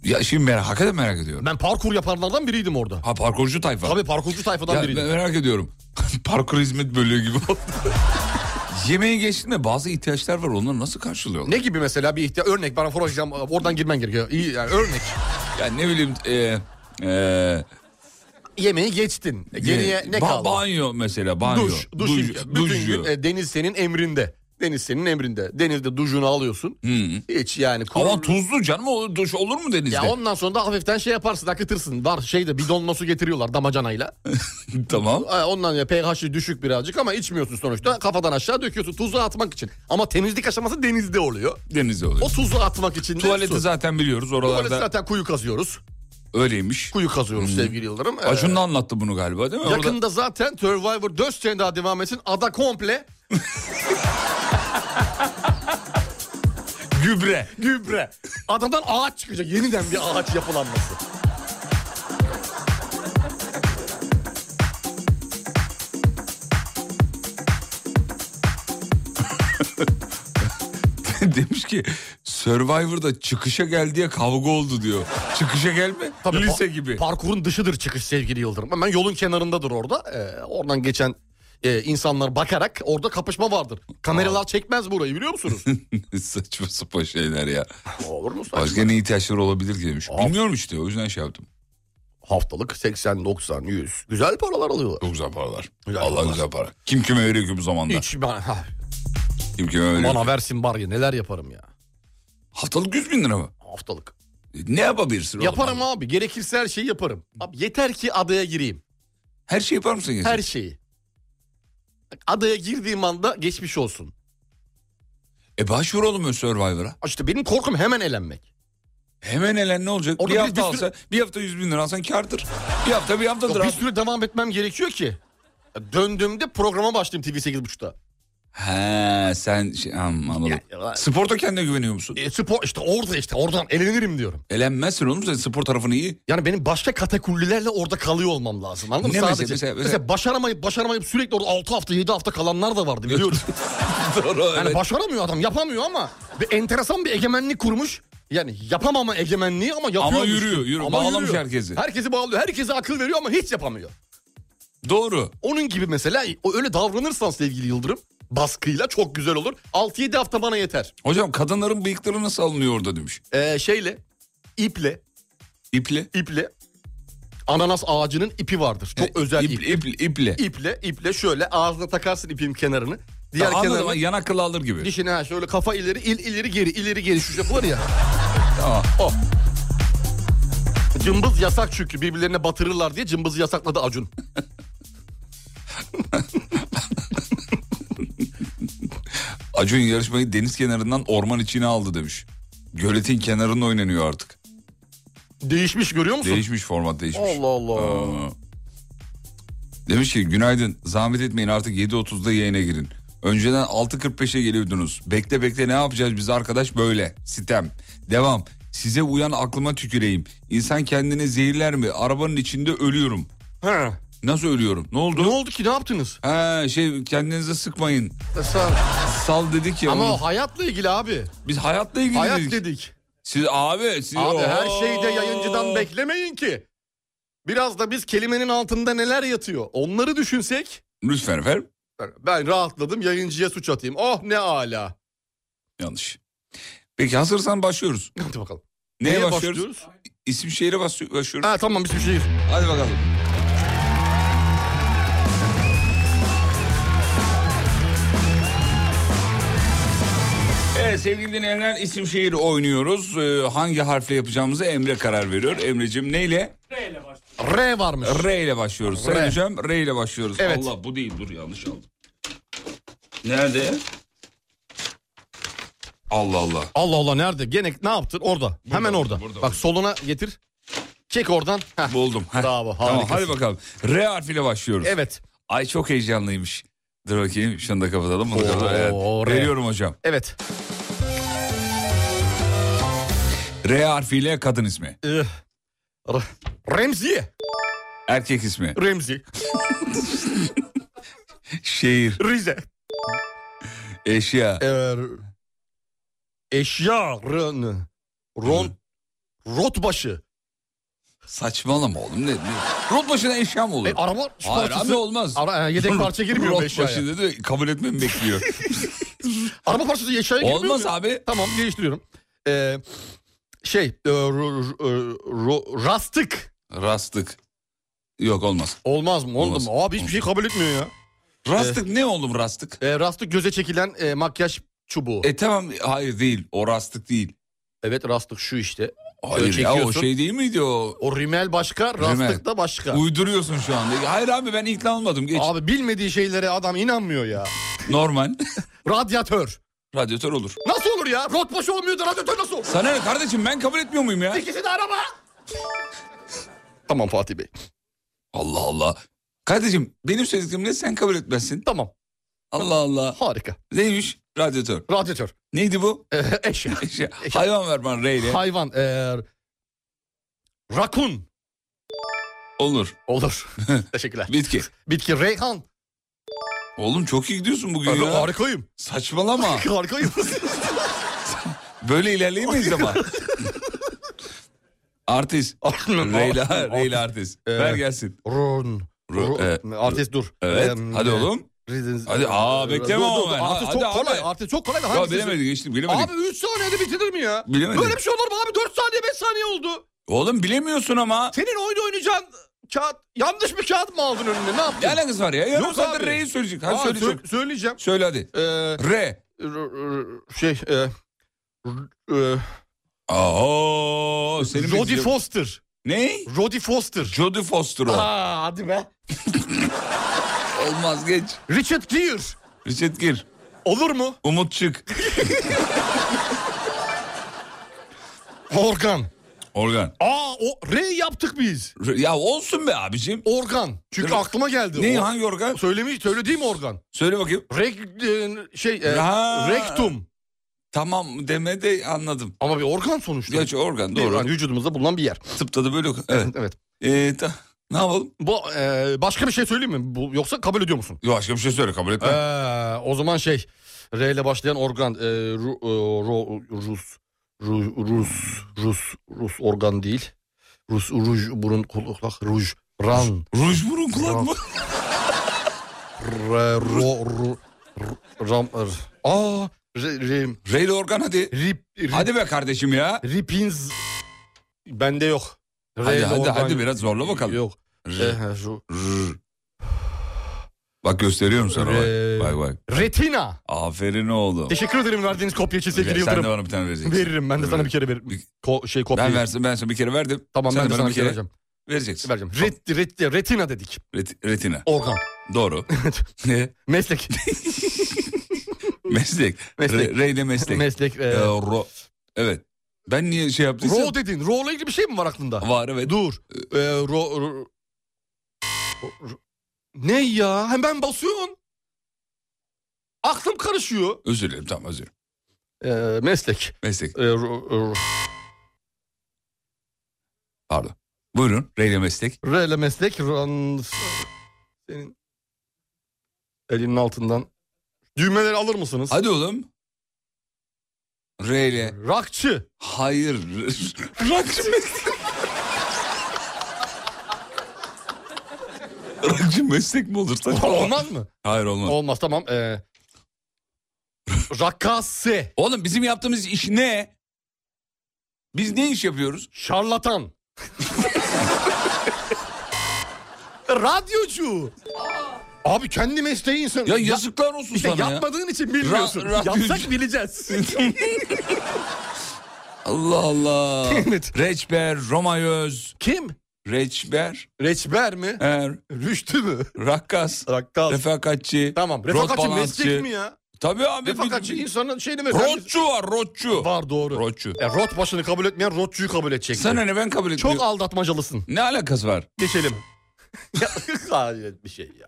Ya şimdi merak, hakikaten merak ediyorum. Ben parkur yapanlardan biriydim orada. Ha parkurcu tayfa. Tabii parkurcu tayfadan Ya biriydim. ben merak ediyorum. Parkur hizmet bölüğü gibi oldu. Yemeği geçtin de bazı ihtiyaçlar var onları nasıl karşılıyorlar? Ne gibi mesela bir ihtiyaç? Örnek bana forajdan oradan girmen gerekiyor. İyi yani örnek. Ya ne bileyim e, e, Yemeği geçtin. Geriye e, ne ba- kaldı? Banyo mesela banyo. Duş, duş, imkan- bütün gün e, deniz senin emrinde. Deniz senin emrinde. Denizde duşunu alıyorsun. Hiç yani kurul- Ama tuzlu canım o duş olur mu denizde? Ya ondan sonra da hafiften şey yaparsın akıtırsın. Var şey şeyde bidonla su getiriyorlar damacanayla. Tamam. E, Ondan ya pH'i düşük birazcık ama içmiyorsun sonuçta. Kafadan aşağı döküyorsun tuzu atmak için. Ama temizlik aşaması denizde oluyor. Denizde oluyor. O tuzu atmak için de Tuvaleti su. zaten biliyoruz oralarda Tuvaleti zaten kuyu kazıyoruz. öyleymiş. Kuyu kazıyoruz sevgili Yıldırım. E, Acun da anlattı bunu galiba değil mi? Orada- Yakında zaten Survivor 4 sene daha devam etsin. Ada komple gübre. gübre. Adadan ağaç çıkacak. Yeniden bir ağaç yapılanması. Demiş ki Survivor'da çıkışa gel diye kavga oldu diyor. Çıkışa gelme Tabii lise par- gibi. Parkurun dışıdır çıkış sevgili Yıldırım. Hemen yolun kenarındadır orada. Ee, oradan geçen e, insanlar bakarak orada kapışma vardır. Kameralar çekmez burayı biliyor musunuz? Saçma sapan şeyler ya. Olur mu? saçma? Başka ne ihtiyaçlar olabilir ki demiş. Bilmiyorum işte o yüzden şey yaptım. Haftalık 80, 90, 100. Güzel paralar alıyorlar. Çok güzel paralar. Allah güzel para. Kim kime veriyor ki bu zamanda? Hiç ben, ha, Kim kime veriyor? bana versin bari ya neler yaparım ya. Haftalık 100 bin lira mı? Haftalık. E, Ne yapabilirsin oğlum? Yaparım abi. Gerekirse her şeyi yaparım. Abi yeter ki adaya gireyim. Her şey yapar mısın? gerçekten? Her şeyi. Bak, Adaya girdiğim anda geçmiş olsun. E başvur oğlum Survivor'a. İşte benim korkum hemen elenmek. Hemen elen ne olacak? Orada bir bir- hafta bir sürü- alsa bir hafta 100 bin lira alsan kârdır. Bir hafta bir haftadır. bir süre devam etmem gerekiyor ki. Ya Döndüğümde programa başlayayım TV 8.30'da. He sen şey, am, anladım. Sporda kendine güveniyor musun? E, spor işte orada işte oradan elenirim diyorum. Elenmezsin oğlum sen spor tarafını iyi. Yani benim başka katakullilerle orada kalıyor olmam lazım anladın mı? Ne Sadece. mesela- mesela- Mesela, başaramayıp başaramayıp sürekli orada 6 hafta 7 hafta kalanlar da vardı biliyorum. Doğru yani başaramıyor adam yapamıyor ama bir enteresan bir egemenlik kurmuş. Yani yapamama egemenliği ama yapıyor. Ama yürüyor, yürüyor. Bağlamış herkesi. Herkesi bağlıyor. Herkese akıl veriyor ama hiç yapamıyor. Doğru. Onun gibi mesela o öyle davranırsan sevgili Yıldırım baskıyla çok güzel olur. 6-7 hafta bana yeter. Hocam kadınların bıyıkları nasıl alınıyor orada demiş. Ee, şeyle iple İple? iple ananas ağacının ipi vardır. Çok özel E, ip- ip- iple. İple iple şöyle ağzına takarsın ipin kenarını. Diğer Anladım, kenarını yan akıllı alır gibi. dişine ha şöyle kafa ileri il, ileri geri ileri geri şu yapılır ya. O. Cımbız yasak çünkü birbirlerine batırırlar diye cımbızı yasakladı Acun. Acun yarışmayı deniz kenarından orman içine aldı demiş. Göletin kenarında oynanıyor artık. Değişmiş görüyor musun? Değişmiş format değişmiş. Allah Allah. Aa. Demiş ki günaydın zahmet etmeyin artık 7.30'da yayına girin. Önceden 6.45'e geliyordunuz. Bekle bekle ne yapacağız biz arkadaş böyle. Sitem. Devam. Size uyan aklıma tüküreyim. İnsan kendini zehirler mi? Arabanın içinde ölüyorum. He. Nasıl ölüyorum? Ne oldu? Ne oldu ki ne yaptınız? He şey kendinize sıkmayın. Sağ Sal dedik ya. Ama onu. o hayatla ilgili abi. Biz hayatla ilgili Hayat dedik. dedik. Siz abi siz Abi her Oo. şeyde yayıncıdan beklemeyin ki. Biraz da biz kelimenin altında neler yatıyor onları düşünsek. Lütfen efendim. Ben rahatladım yayıncıya suç atayım. Oh ne ala. Yanlış. Peki hazırsan başlıyoruz. Hadi bakalım. Neye, Neye başlıyoruz? başlıyoruz? İsim şehire bas- başlıyoruz. Ha tamam şey isim şehir. Hadi bakalım. Evet sevgili dinleyenler isim şehir oynuyoruz. Ee, hangi harfle yapacağımızı Emre karar veriyor. Emre'cim neyle? R varmış. R ile başlıyoruz. Sayın R. hocam R ile başlıyoruz. Evet. Allah bu değil dur yanlış aldım. Nerede? Allah Allah. Allah Allah nerede? Gene ne yaptın? Orada. Hemen orada. Bak soluna getir. Çek oradan. Heh. Buldum. Heh. Bravo. Tamam, harikasın. hadi bakalım. R harfiyle başlıyoruz. Evet. Ay çok heyecanlıymış. Dur bakayım şunu da kapatalım. Bunu da Oo, evet. R. Veriyorum hocam. Evet. R harfiyle kadın ismi. Ee, R- Remziye. Erkek ismi. Remzi. Şehir. Rize. Eşya. Er, eşya. Ron. Ron. Rotbaşı. Saçmalama oğlum ne? ne? Rot başına eşya mı olur? E, araba Hayır parçası- abi olmaz. Ara- e, yedek parça girmiyor mu Rot eşyaya? başı dedi kabul etmemi bekliyor. Araba parçası eşyaya girmiyor Olmaz mu ya? abi. Tamam değiştiriyorum. Ee, şey. e, ro- ro- ro- rastık. Rastık. Yok olmaz. Olmaz mı? Oldu mu? Abi hiçbir şey kabul etmiyor ya. Eh. Rastık ne oğlum rastık? E, rastık göze çekilen e, makyaj çubuğu. E tamam hayır değil o rastık değil. Evet rastık şu işte. Hayır Böyle ya o çekiyorsun. şey değil miydi o? O rimel başka, rastık da başka. Uyduruyorsun şu anda. Hayır abi ben ikna olmadım geç. Abi bilmediği şeylere adam inanmıyor ya. Normal. Radyatör. Radyatör olur. Nasıl olur ya? Rotbaşı olmuyor da radyatör nasıl olur? Sana ne kardeşim ben kabul etmiyor muyum ya? İkisi de araba. Tamam Fatih Bey. Allah Allah. Kardeşim benim söylediklerimle sen kabul etmezsin. Tamam. Allah Allah. Harika. Neymiş? Radyatör. Radyatör. Neydi bu? eşya. Eşya. Hayvan ver bana reyle. Hayvan. E, rakun. Olur. Olur. Teşekkürler. Bitki. Bitki. Reyhan. Oğlum çok iyi gidiyorsun bugün Abi ya. harikayım. Saçmalama. Harikayım. Böyle ilerleyemeyiz ama. artist. Reyla, Reyla artist. ver gelsin. Run. Ru- e, Ru- Artist dur. Evet. Em, hadi e, oğlum. Riz- Hadi, aa, bekleme Dur, ama dur, ben. Artist Hadi çok abi. kolay. Artist çok kolay. da Ya hangisi? bilemedik işte bilemedik. Abi 3 saniyede bitirir mi ya? Bilemedik. Böyle bir şey olur mu abi? 4 saniye 5 saniye oldu. Oğlum bilemiyorsun ama. Senin oyun oynayacağın kağıt yanlış bir kağıt mı aldın önüne? Ne yaptın? Ne alakası var ya? Yarım Yok saattir abi. R'yi söyleyecek. Hadi Aa, söyle, sö- söyle. söyleyeceğim. Söyle hadi. Ee, R. r- r- şey e, r- e, Aa, senin Roddy bildiğin- Foster. Ne? Roddy Foster. Jodie Foster o. Aa, hadi be. Olmaz geç. Richard Gere. Richard Gir. Olur mu? Umut çık. Organ. Organ. Aa o R yaptık biz. Ya olsun be abicim. Organ. Çünkü Değil mi? aklıma geldi. Ne, O- hangi organ? Söylemiş, söyle değil mi organ? Söyle bakayım. Rek, e, şey, e, Ha. rektum. Tamam deme de anladım. Ama bir organ sonuçta. Gerçi organ Değil doğru. mi? Yani vücudumuzda bulunan bir yer. Tıpta da böyle. Evet. evet. Ee, ta- ne yapalım? Bu e, başka bir şey söyleyeyim mi? Bu, yoksa kabul ediyor musun? Yok başka bir şey söyle kabul etmem. Ee, o zaman şey R ile başlayan organ e, Ru- e, Ro- Rus Ru- Rus Rus Rus organ değil. Rus ruj burun kulak ruj ran. Ruj burun kulak mı? Re, ro, ru, r- ram, r. Aa, re, re, Reyli organ hadi. Rip, Hadi be kardeşim ya. Ripins bende yok. R Hadi ile hadi organ- hadi biraz zorla bakalım. Yok. Eh, şu- Bak gösteriyorum sana bak. Ee, Vay vay. Retina. Aferin oğlum. Teşekkür ederim verdiğiniz kopya için sevgili Sen Yıldırım. de bana bir tane vereceksin. Veririm ben de sana bir kere veririm. Ko- şey kopya. Ben versin ben sana bir kere verdim. Tamam Sen ben de bana sana bir bir kere kere vereceğim. Vereceksin. Vereceğim. Ret, ret- retina dedik. Ret- retina. Organ. Doğru. ne? Meslek. Meslek. Meslek. Re- reyde meslek. Meslek, e- Ee, ro- evet. Ben niye şey yaptıysam? Ro dedin. Ro ile ilgili bir şey mi var aklında? Var evet. Dur. Ee, ro, ro- ro- Ne ya? Hemen basıyorsun. Aklım karışıyor. Özür dilerim tamam özür dilerim. Ee, meslek. Meslek. Ee, ro- ro- Pardon. Buyurun. Reyde meslek. R ile meslek. Ran... Senin elinin altından. Düğmeleri alır mısınız? Hadi oğlum. Reyle. Rakçı. Hayır. Rakçı meslek. Rakçı meslek mi olur? Saçmalama. Olmaz mı? Hayır olmaz. Olmaz tamam. Ee, rakase. Oğlum bizim yaptığımız iş ne? Biz ne iş yapıyoruz? Şarlatan. Radyocu. Abi kendi mesleği insan. Ya yazıklar olsun İşte sana ya. yapmadığın için bilmiyorsun. Ra- radyocu. Yapsak bileceğiz. Allah Allah. Evet. Reçber, Romayöz, Kim? Reçber, Reçber mi? Er, Rüştü mü? Rakkas, Rakkal. Refakatçi. tamam. Refakatçi meslek mi ya? Tabii abi. Refakatçi bir- insanın şeyini mi? Rotçu var rotçu. Var doğru. Rotçu. E, rot başını kabul etmeyen rotçuyu kabul edecek. Sana ne hani ben kabul Çok etmiyorum. aldatmacalısın. Ne alakası var? Geçelim. Ya, Hayret bir şey ya.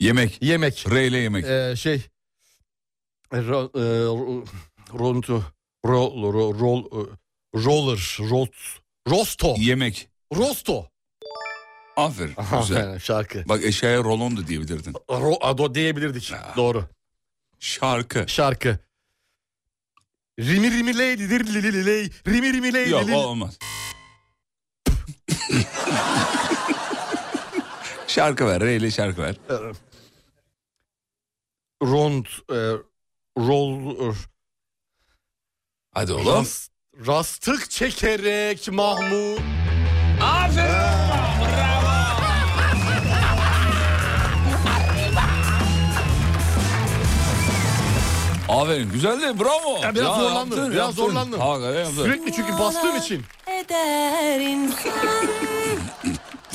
Yemek. Yemek. Reyle yemek. Ee, şey ro, e, ro- rontu ro, ro, rol e, roller rot rosto Yemek. rosto Aferin. Aha, Güzel. aynen, şarkı Bak eşeğe rolon da diyebilirdin. ro, ado diyebilirdik doğru Şarkı. şarkı rimi rimi ley li, li, li, li, ley rimi rimi ley li, Yok li, o li. olmaz. şarkı ver. Reyle şarkı ver. rond e, rol e, Hadi oğlum. ras, rastık çekerek Mahmut Aferin. Güzel de bravo. Ya biraz zorlandım, yaptın, biraz yaptın. zorlandım. Hakikaten yaptın. sürekli çünkü bastığım için Eder insan.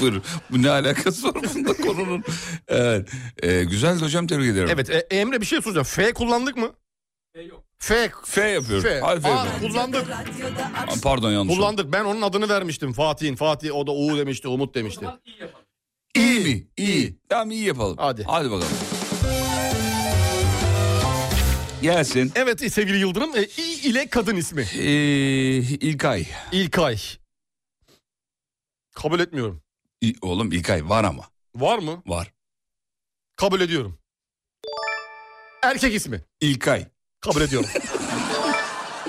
Buyurun. Bu ne alakası var bunda konunun? Evet. Ee, güzel de hocam tebrik ederim. evet e, Emre bir şey soracağım F kullandık mı? F F yapıyorum. F. Harf Aa, yapıyorum. kullandık. Aa, Pardon yanlış oldu. Kullandık. Ben onun adını vermiştim Fatih'in. Fatih o da U demişti, Umut demişti. İyi mi? İyi. Tamam iyi yapalım. Hadi. Hadi bakalım. Gelsin. Evet e, sevgili Yıldırım, e, İ ile kadın ismi. Ee, İlkay. İlkay. Kabul etmiyorum. İ- Oğlum İlkay var ama. Var mı? Var. Kabul ediyorum. Erkek ismi. İlkay. Kabul ediyorum.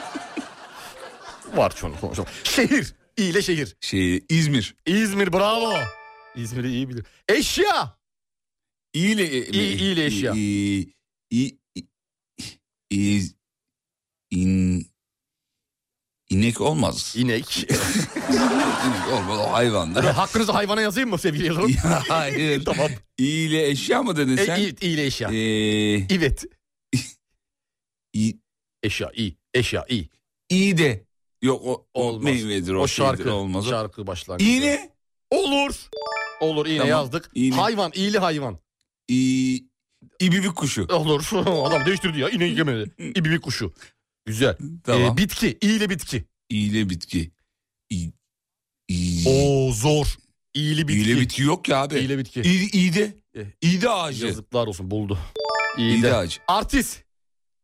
Var çoğunu konuşalım. Şehir. İ ile şehir. Şey, İzmir. İzmir bravo. İzmir'i iyi bilir. Eşya. İyi ile... İyi- iyi ile eşya. İyi... İyi... İz... İn... İnek olmaz. İnek. İnek olmaz. O hayvandır. Hakkınızı hayvana yazayım mı sevgili Yıldırım? Hayır. tamam. İyi ile eşya mı dedin E, sen? İ, İ ile eşya. Ee, Evet. İ- Eşya iyi. Eşya iyi. iyi de. Yok o, o Olmaz. meyvedir o, O şeydir, şarkı. olmaz. o. Şarkı başlangıcı. İğne. Olur. Olur iğne Tamam, yazdık. iğne. Hayvan iyili hayvan. İ- İbibik kuşu. Olur. Adam değiştirdi ya. İğneyi yemedi. İbibik kuşu. Güzel. Tamam. Ee, bitki. İyile bitki. İyi ile bitki. Oo zor. İyili bitki. İyili bitki yok ya abi. İyile bitki. İyi, iyide. İyide ağacı. Yazıklar olsun buldu. İyide, ağacı. Artist.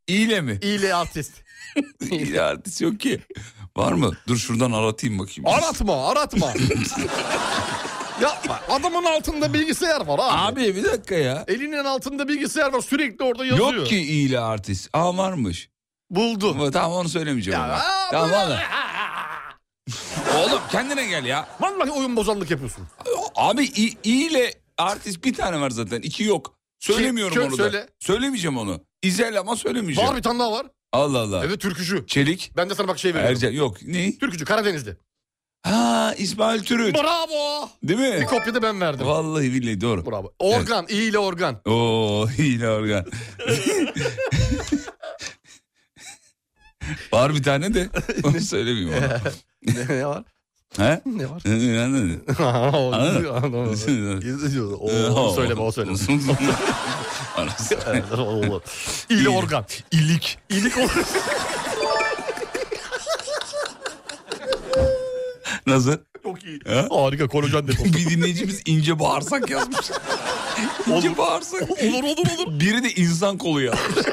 İyile mi? İyile artist. İyide artist yok ki. Var mı? Dur şuradan aratayım bakayım. Aratma aratma. Yapma. Adamın altında bilgisayar var abi. Abi bir dakika ya. Elinin altında bilgisayar var sürekli orada yazıyor. Yok ki iyile artist. Aa varmış. Buldu. Tamam onu söylemeyeceğim. ama. tamam valla. Oğlum kendine gel ya. Vallahi oyun bozanlık yapıyorsun. Abi i- iyiyle artist bir tane var zaten. iki yok. Söylemiyorum Kim? Kim? onu da. Söyle. Söylemeyeceğim onu. İzel ama söylemeyeceğim. Var bir tane daha var. Allah Allah. Evet türkücü. Çelik. Ben de sana bak şey veriyorum. Ercan yok. Ne? Türkücü Karadenizli. Ha İsmail Türüt. Bravo. Değil mi? Bir kopya da ben verdim. Vallahi billahi doğru. Bravo. Organ iyi ile organ. Oo hile organ. var bir tane de onu söylemiyorum. ama. ne var? He? Ne var? Anladın? o- Anladın? Ee, anlamadım. O, onu söyleme o söyleme. Evet, olur. İli organ. İlik. İlik organ. Nasıl? Çok iyi. Ha? Harika kolajen deposu. bir dinleyicimiz ince bağırsak yazmış. ince bağırsak. Olur olur olur. Biri de insan kolu yazmış.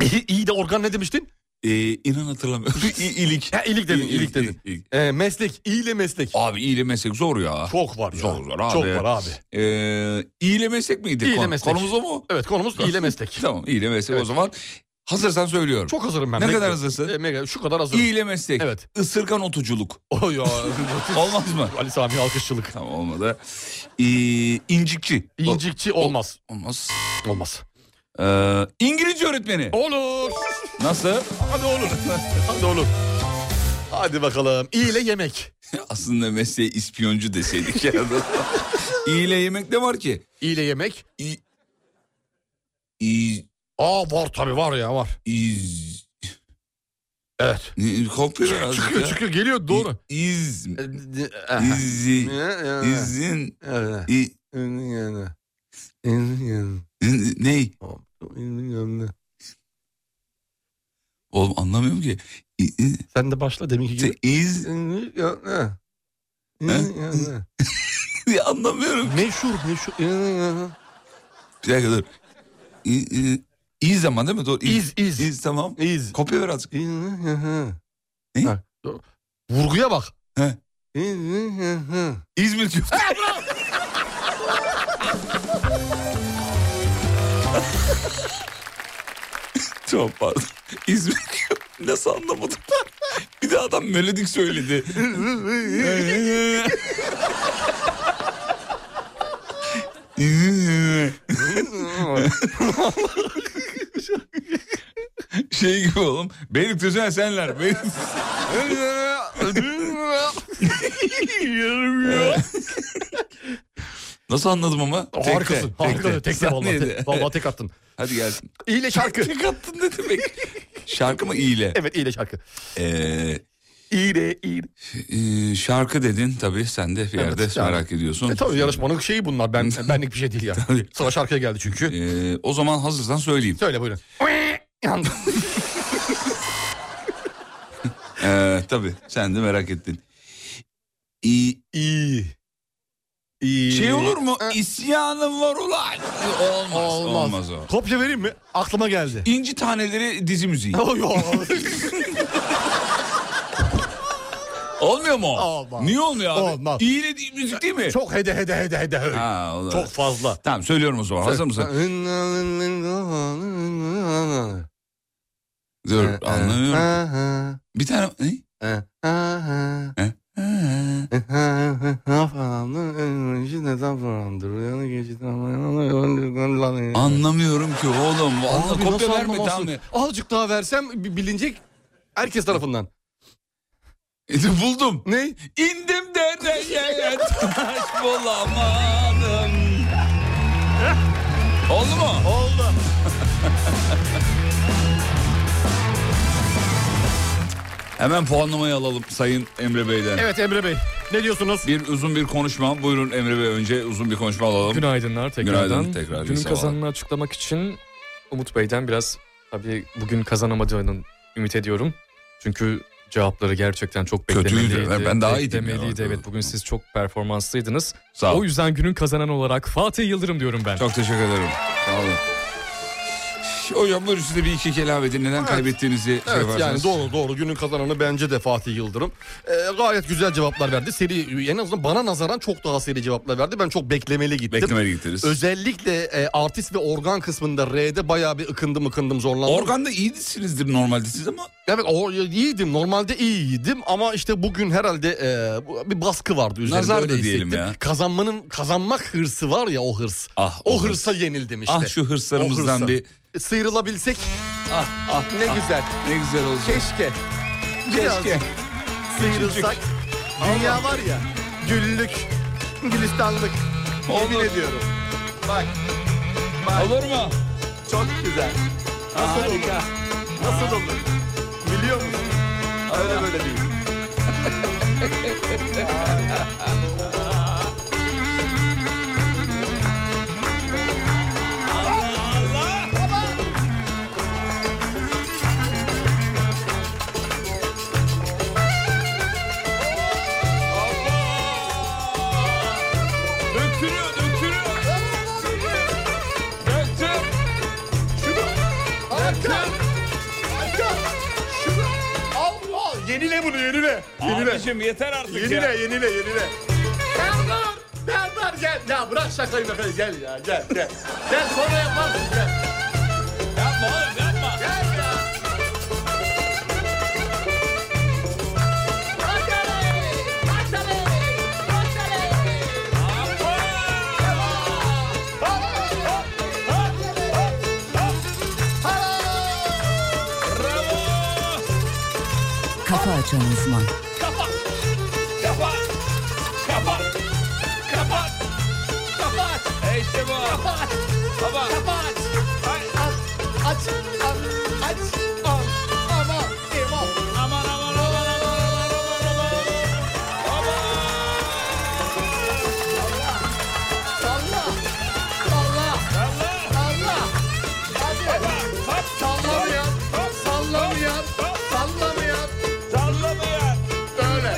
İyi- İyi de organ ne demiştin? Ee, inan hatırlamıyorum. İ- ilik. Ha, ilik dedin, ilik dedin. Ee, meslek, iyiyle meslek. Abi iyiyle meslek zor ya. Çok var ya. Zor zor abi. Çok var abi. Ee, iyiyle meslek miydi? İyiyle Kon- meslek. Konumuz o mu? Evet konumuz iyiyle meslek. Tamam iyiyle meslek o zaman. Hazırsan söylüyorum. Çok hazırım ben. Ne kadar Bekliyorum. hazırsın? Ee, mega- şu kadar hazırım. İyiyle meslek. Evet. Isırgan otuculuk. Oy ya. Olmaz mı? Ali Sami alkışçılık. Tamam olmadı. Ee, incikçi. İncikçi olmaz. Olmaz. Olmaz. Ee, İngilizce öğretmeni. Olur. Nasıl? Hadi olur. Hadi olur. Hadi bakalım. İyiyle yemek. Aslında mesleğe ispiyoncu deseydik ya. İyiyle yemek ne var ki? İyiyle yemek. İ... İ... Aa var tabii var ya var. İz... Evet. Ne- Kopya yazdık Çıkıyor ya. çıkıyor geliyor doğru. İz... Aha. İzi... Ee, İzin... Evet. İ... İzin yani. İzin yani. Ney? İzin yani. Oğlum anlamıyorum ki. İ... İ- Sen de başla deminki gibi. İz... anlamıyorum. Meşhur meşhur. Bir dakika dur. İ... İ... İz zaman değil mi? Doğru. İz iz. İz tamam. İz. Kopya ver azıcık. Ne? Ha, dur. Vurguya bak. He. İz, iz, iz, iz. İzmir köfte. Çok pardon. İzmir köfte. Nasıl anlamadım ben? Bir de adam melodik söyledi. şey gibi oğlum. Beylikdüzü Esenler. Beylikdüzü. Nasıl anladım ama? Tekte, Harikasın. Harikasın. Tek tek Sahneydi. vallahi. Vallahi tek attın. Hadi gelsin. İyile şarkı. Tek attın ne demek? Şarkı mı iyile? evet iyile şarkı. Ee, İyile iyile. e, şarkı dedin tabii sen de bir yerde Evet, yani. merak ediyorsun. E tabii yarışmanın şeyi bunlar. Ben benlik bir şey değil ya. Tabii. Sıra şarkıya geldi çünkü. Ee, o zaman hazırsan söyleyeyim. Söyle buyurun. Yandım. Ee, tabii sen de merak ettin. İ, İyi. İyi. şey olur mu? İsyanım var ulan. Olmaz. Olmaz, o. Kopya vereyim mi? Aklıma geldi. İnci Taneleri dizi müziği. Oy, oy. Olmuyor mu? o? Olmaz. Niye olmuyor abi? Olmaz. İyile değil, müzik değil mi? Çok hede hede hede hede. hede. Ha, olur. Çok fazla. Tamam söylüyorum o zaman. Hazır mısın? Dur anlamıyorum. Bir tane... Ne? He? Ha. Anlamıyorum ki oğlum. Allah Abi kopya nasıl verme tamam anlamazsın? mı? Azıcık daha versem bi- bilinecek herkes tarafından. E, buldum. Ne? İndim dereye taş bulamadım. Oldu mu? Oldu. Hemen puanlamayı alalım Sayın Emre Bey'den. Evet Emre Bey ne diyorsunuz? Bir uzun bir konuşma. Buyurun Emre Bey önce uzun bir konuşma alalım. Günaydınlar tekrardan. Günaydın tekrar, iyi Günün sabahlar. kazanını açıklamak için Umut Bey'den biraz Tabii bugün kazanamadığını ümit ediyorum. Çünkü cevapları gerçekten çok Kötüydü. beklemeliydi. Ben daha iyiydim ya. Beklemeliydi. Evet bugün siz çok performanslıydınız. O yüzden günün kazanan olarak Fatih Yıldırım diyorum ben. Çok teşekkür ederim. Sağ olun. Hocam buyurun size bir iki kelam edin. Neden kaybettiğinizi şey Evet yani yaparsanız. doğru doğru günün kazananı bence de Fatih Yıldırım. Ee, gayet güzel cevaplar verdi. Seri en azından bana nazaran çok daha seri cevaplar verdi. Ben çok beklemeli gittim. Beklemeli gittiniz. Özellikle e, artist ve organ kısmında R'de bayağı bir ıkındım ıkındım zorlandım. Organda iyisinizdir normalde siz ama. Evet o, iyiydim normalde iyiydim ama işte bugün herhalde e, bu- bir baskı vardı üzerinde. Nazar öyle da diyelim hissettim. ya. Kazanmanın kazanmak hırsı var ya o hırs. Ah, o, o hırsa yenildim işte. Ah, şu hırslarımızdan O hırsa. bir- Sıyrılabilsek. Ah, ah, ne ah, güzel. Ne güzel olacak. Keşke. Keşke. Sıyrılsak. Dünya var ya. Güllük. Gülistanlık. Yemin ediyorum. Bak. bak. Olur mu? Çok güzel. Nasıl olur? Nasıl olur? Biliyor musun? Öyle böyle değil. Döktürüyor, döktürüyor. Döktür. Şunu. Döktür. Şunu. Allah. Yenile bunu yenile. Yenile. Abicim yeter artık yenile, ya. Yenile yenile Serdar. Serdar gel. Ya bırak şakayı makayı gel ya gel gel. gel sonra yaparsın gel. Yapma oğlum yapma. Gel ya. Kafa Açan Uzman. Kapat. Kapat. Kapat. Kapat. Kapat. E işte bu. Kapat. Kapat. Kapat. Aç. Aç. Aç. Aman. Aman. Aman. Aman. Aman. Aman. Aman. Salla. Salla. Salla. Hadi. Sallamayan. Sallamayan. Sallamayan. Sallamayan. Böyle.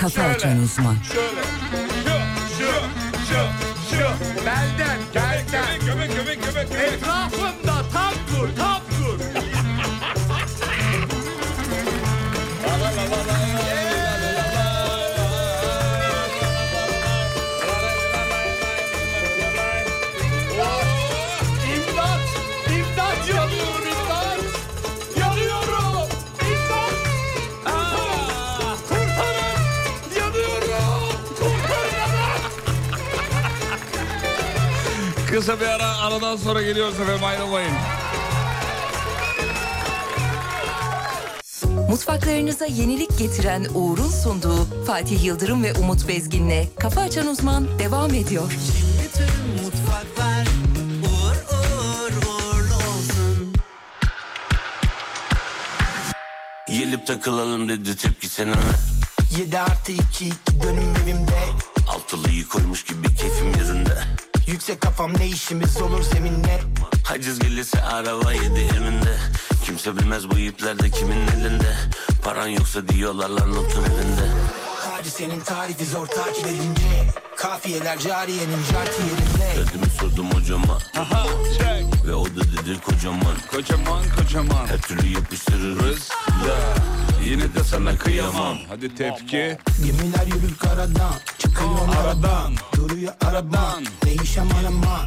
Kafa Açan Uzman. Şöyle. Şu. Şu. Şu. Şu. Belden. Kelden. Göbek göbek göbek göbek. Etrafımda tam dur. Tam dur. İmdat! İmdat yanıyorum imdat! Yanıyorum! İmdat! Kurtarın! Kurtarın! Yanıyorum! Kurtarın! Kısa bir ara aradan sonra geliyoruz efendim ayrılmayın. Mutfaklarınıza yenilik getiren Uğur'un sunduğu Fatih Yıldırım ve Umut Bezgin'le Kafa Açan Uzman devam ediyor. Bütün mutfaklar uğur uğur uğurlu olsun. Gelip takılalım dedi tepkisine 7 artı 2 iki dönüm evimde. Altılıyı koymuş gibi keyfim yerinde Yüksek kafam ne işimiz olur zeminle. Haciz gelirse araba yedi eminde Kimse bilmez bu iplerde kimin elinde Paran yoksa diyorlar lan notun elinde Hadisenin tarifi zor takip edince. Kafiyeler cariyenin jarti yerinde. Derdimi sordum hocama Aha çek. Ve o da dedi kocaman Kocaman kocaman Her türlü yapıştırırız da Yine de sana kıyamam Hadi tepki Gemiler yürür karadan. Çıkıyor aradan. Duruyor aradan. Değişen arama.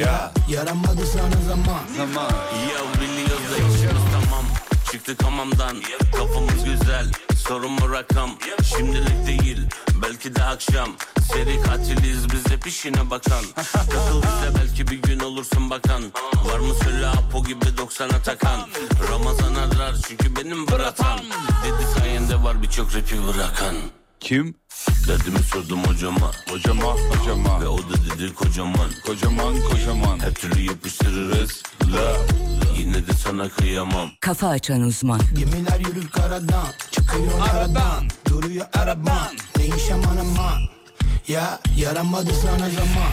Ya Yaramadı sana zaman. Tamam Ya biliyoruz da işimiz tamam Çıktık hamamdan Kafamız güzel Sorun mu rakam Şimdilik değil Belki de akşam Seri katiliz biz hep işine bakan Takıl bize belki bir gün olursun bakan Var mı söyle Apo gibi 90'a takan Ramazan arar çünkü benim bıratam Dedi sayende var birçok rapi bırakan Kim? Dedimi sordum hocama Hocama hocama Ve o da dedi kocaman Kocaman kocaman Her türlü yapıştırırız La Yine de sana kıyamam Kafa Açan Uzman. Gemiler yürür karadan Çıkıyor aradan Duruyor araban Değişen arama Ya yaramadı sana zaman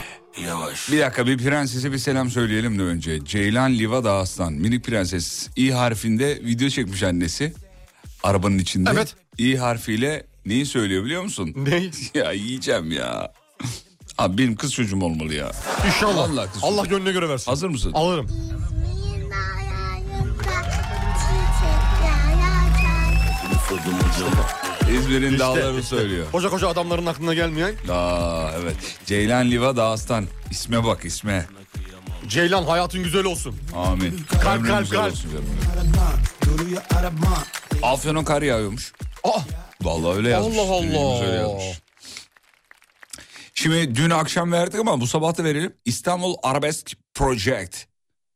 Yavaş. Bir dakika bir prensese bir selam söyleyelim de önce. Ceylan Livada Aslan minik prenses İ harfinde video çekmiş annesi. Arabanın içinde. Evet. İ harfiyle neyi söylüyor biliyor musun? Neyi? ya yiyeceğim ya. Abi benim kız çocuğum olmalı ya. İnşallah. Allah, Allah gönlüne göre versin. Hazır mısın? Alırım. Üfledim hocama. İzmir'in dağlarını söylüyor. Koca koca adamların aklına gelmeyen Aa evet. Ceylan Liva Dağıstan. İsme bak isme. Ceylan hayatın güzel olsun. Amin. Kalp, Ömrün kalp, güzel kalp. olsun canım. Afyon'a kar yağıyormuş. Vallahi öyle yazmış. Allah Allah. Dinleyicimiz öyle yazmış. Şimdi dün akşam verdik ama bu sabah da verelim. İstanbul Arabesk Project.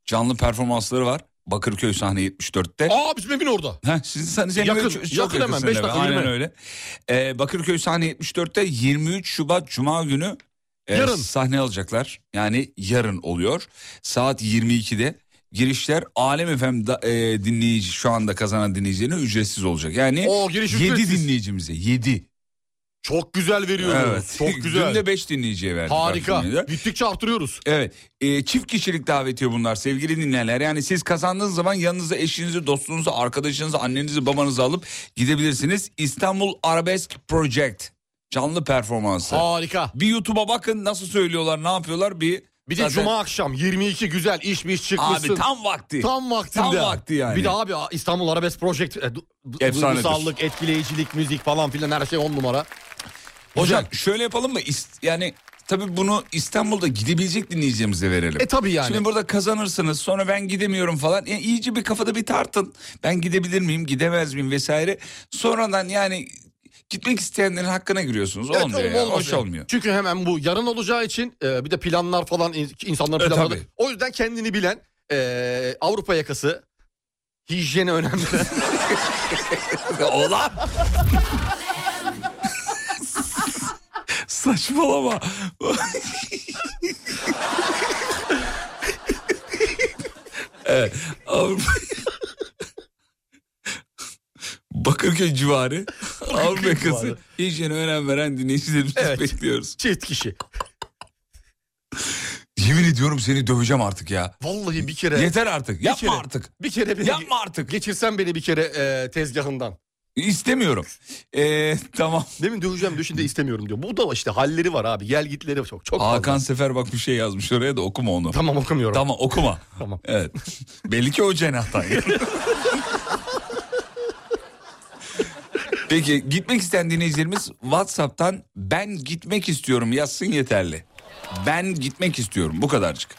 Canlı performansları var. Bakırköy sahne 74'te. Aa bizim evin orada. Heh, sizin sen, senin Yakın, evin çok- çok yakın hemen, yakın beş senin dakika eve. Aynen yürüme. öyle. Ee, Bakırköy sahne 74'te 23 Şubat Cuma günü e, Yarın. sahne alacaklar. Yani yarın oluyor. Saat 22'de girişler Alem FM da- e, dinleyici şu anda kazanan dinleyicilerine ücretsiz olacak. Yani Oo, giriş 7 ücretsiz. dinleyicimize 7. Çok güzel veriyoruz. Evet. Çok güzel. Dün de 5 dinleyiciye verdik. Harika. Artvin'de. Gittikçe arttırıyoruz. Evet. E, çift kişilik davetiye bunlar sevgili dinleyenler. Yani siz kazandığınız zaman yanınıza eşinizi, dostunuzu, arkadaşınızı, annenizi, babanızı alıp gidebilirsiniz. İstanbul Arabesk Project canlı performansı. Harika. Bir YouTube'a bakın nasıl söylüyorlar, ne yapıyorlar bir... Bir de Zaten- cuma akşam 22 güzel iş mi iş çıkmışsın. Abi tam vakti. Tam vaktinde. Tam vakti yani. Bir de abi İstanbul Arabesk Project. E, du- du- Efsanedir. duygusallık, etkileyicilik, müzik falan filan her şey on numara. Hocam şöyle yapalım mı? İst- yani tabii bunu İstanbul'da gidebilecek dinleyicilerimize verelim. E tabii yani. Şimdi burada kazanırsınız sonra ben gidemiyorum falan. E, iyice bir kafada bir tartın. Ben gidebilir miyim gidemez miyim vesaire. Sonradan yani gitmek isteyenlerin hakkına giriyorsunuz. Evet, olmuyor oğlum, ya. olmaz Hoş yani. olmuyor. Çünkü hemen bu yarın olacağı için e, bir de planlar falan in- insanların E, planları. tabii. O yüzden kendini bilen e, Avrupa yakası hijyene önemli. Oğlan. Saçmalama. evet. Avrupa... Bakırköy civarı Avrupa yakası civarı. hijyene önem veren dinleyicilerimizi bekliyoruz. Çift kişi. Yemin ediyorum seni döveceğim artık ya. Vallahi bir kere. Yeter artık. Bir Yapma kere- artık. Bir kere beni. Yapma artık. Geçirsen beni bir kere e, tezgahından. İstemiyorum. Ee, tamam. Demin döveceğim diyor şimdi istemiyorum diyor. Bu da işte halleri var abi. Gel gitleri çok çok fazla. Hakan Sefer bak bir şey yazmış oraya da okuma onu. Tamam okumuyorum. Tamam okuma. Tamam. Evet. Belli ki o cenahtan. Peki gitmek isteyen dinleyicilerimiz WhatsApp'tan ben gitmek istiyorum yazsın yeterli. Ben gitmek istiyorum bu kadarcık.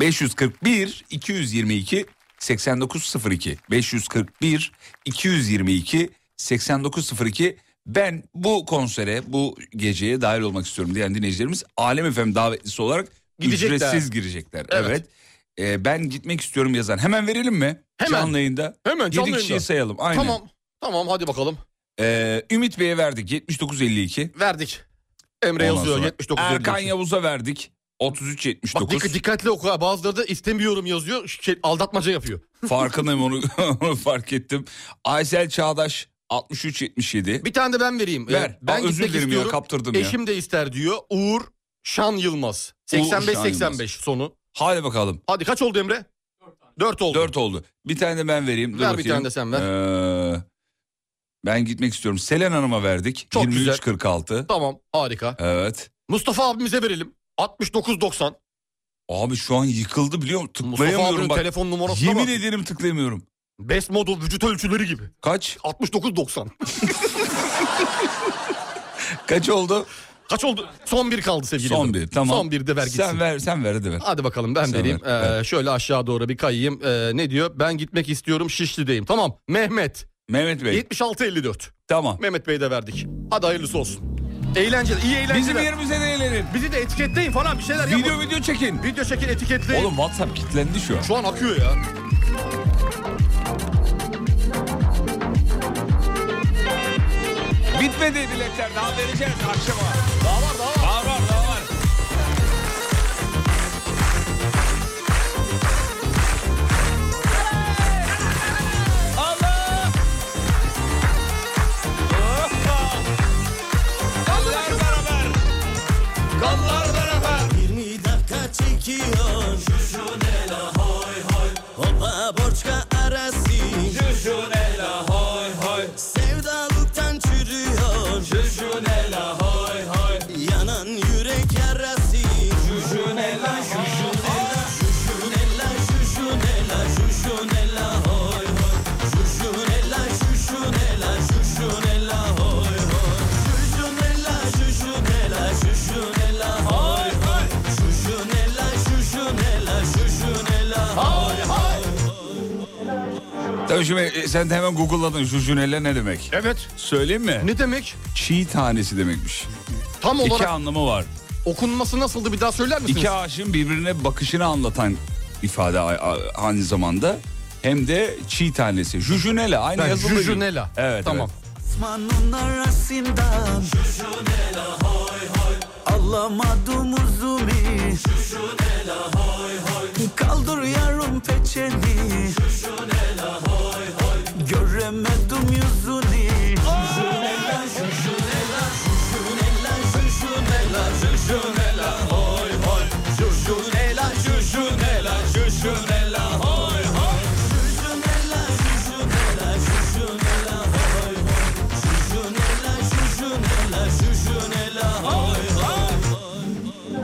541 222 8902 541 222 8902 ben bu konsere bu geceye dahil olmak istiyorum diyen dinleyicilerimiz Alem FM davetlisi olarak Gidecekler. ücretsiz girecekler. Evet. Evet. Ee, ben gitmek istiyorum yazan. Hemen verelim mi? Hemen. Canlı yayında. Hemen canlı Yedi yayında. kişiyi sayalım. Aynen. Tamam. Tamam hadi bakalım. Ee, Ümit Bey'e verdik 79.52. Verdik. Emre Ondan yazıyor sonra 79.52. Erkan Yavuz'a verdik 33.79. Bak dikkat, dikkatli oku ha. Bazıları da istemiyorum yazıyor. Şey, aldatmaca yapıyor. Farkındayım onu, onu fark ettim. Aysel Çağdaş 63.77. Bir tane de ben vereyim. Ee, Ver. Aa, Ben özür gitmek dilerim ya, istiyorum. kaptırdım ya. Eşim de ister diyor. Uğur Şan Yılmaz. Uğur Şan 85-85 sonu. Hadi bakalım. Hadi kaç oldu Emre? 4 oldu. 4 oldu. Bir tane de ben vereyim. Dur Ver bir bakayım. tane de sen ver. Ee, ben gitmek istiyorum. Selen Hanım'a verdik. Çok güzel. 23.46. Tamam harika. Evet. Mustafa abimize verelim. 69-90. Abi şu an yıkıldı biliyor musun? Mustafa Tıklayamıyorum abinin bak. telefon numarasına Yemin bak. ederim tıklayamıyorum. Best model vücut ölçüleri gibi. Kaç? 69-90. Kaç oldu? Kaç oldu? Son bir kaldı sevgili. Son hanım. bir tamam. Son bir de ver gitsin. Sen ver, sen ver hadi ver. Hadi bakalım ben Sen vereyim. ver, Ee, ver. Şöyle aşağı doğru bir kayayım. Ee, ne diyor? Ben gitmek istiyorum Şişli'deyim. Tamam Mehmet. Mehmet Bey. 76-54. Tamam. Mehmet Bey'e de verdik. Hadi hayırlısı olsun. Eğlenceli, iyi eğlenceler. Bizim yerimize de eğlenin. Bizi de etiketleyin falan bir şeyler Video yapın. video çekin. Video çekin etiketleyin. Oğlum WhatsApp kilitlendi şu an. Şu an akıyor ya. Bitmedi biletler daha vereceğiz akşama. Daha var daha var. Daha var daha var. Allah! Hoppa! Kanlar beraber! Kanlar beraber! Koçka arası Jujunela hoy hoy Sevdalıktan çürüyor Jujunela hoy hoy Yanan yürek yarası Jujunela jujunela Jujunela jujunela jujunela hoy hoy Jujunela jujunela jujunela hoy hoy Jujunela jujunela jujunela hoy hoy Jujunela jujunela jujunela hoy hoy Tabii şimdi e, sen de hemen Google'ladın jujunele ne demek? Evet. Söyleyeyim mi? Ne demek? Çiğ tanesi demekmiş. Tam olarak İki anlamı var. okunması nasıldı bir daha söyler misiniz? İki aşığın birbirine bakışını anlatan ifade a- a- aynı zamanda. Hem de çiğ tanesi. Jujunele aynı Ha, yazıldığı gibi. jujunela. Evet. Tamam. Osman'ın arasından Alamadım uzumi Kaldır yarım peçeni Göremedim yüzünü Jujunela, jujunela, jujunela, jujunela, jujunela, hoy hoy Jujunela, jujunela, jujunela, hoy hoy Jujunela, jujunela, jujunela, hoy hoy Jujunela, jujunela, jujunela, hoy hoy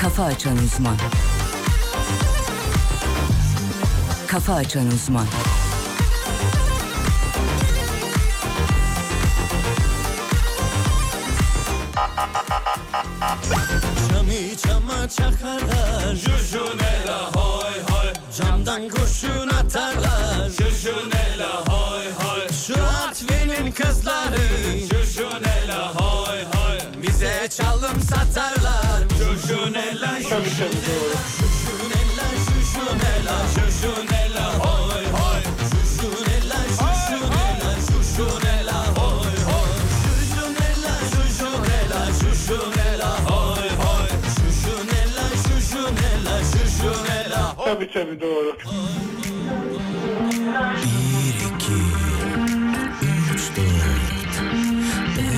Kafa Açan Uzman Kafa Açan Uzman Camı cama çakarlar Jujunela hoy hoy Camdan kurşun atarlar Jujunela hoy hoy Şu Artvin'in kızları Jujunela hoy hoy Bize çalım satarlar Jujunela jujunela Jujunela, jujunela, jujunela, hoy hoy Jujunela, jujunela, jujunela, hoy hoy Jujunela, jujunela, jujunela, hoy hoy Jujunela, jujunela, jujunela, hoy Tabii tabii doğru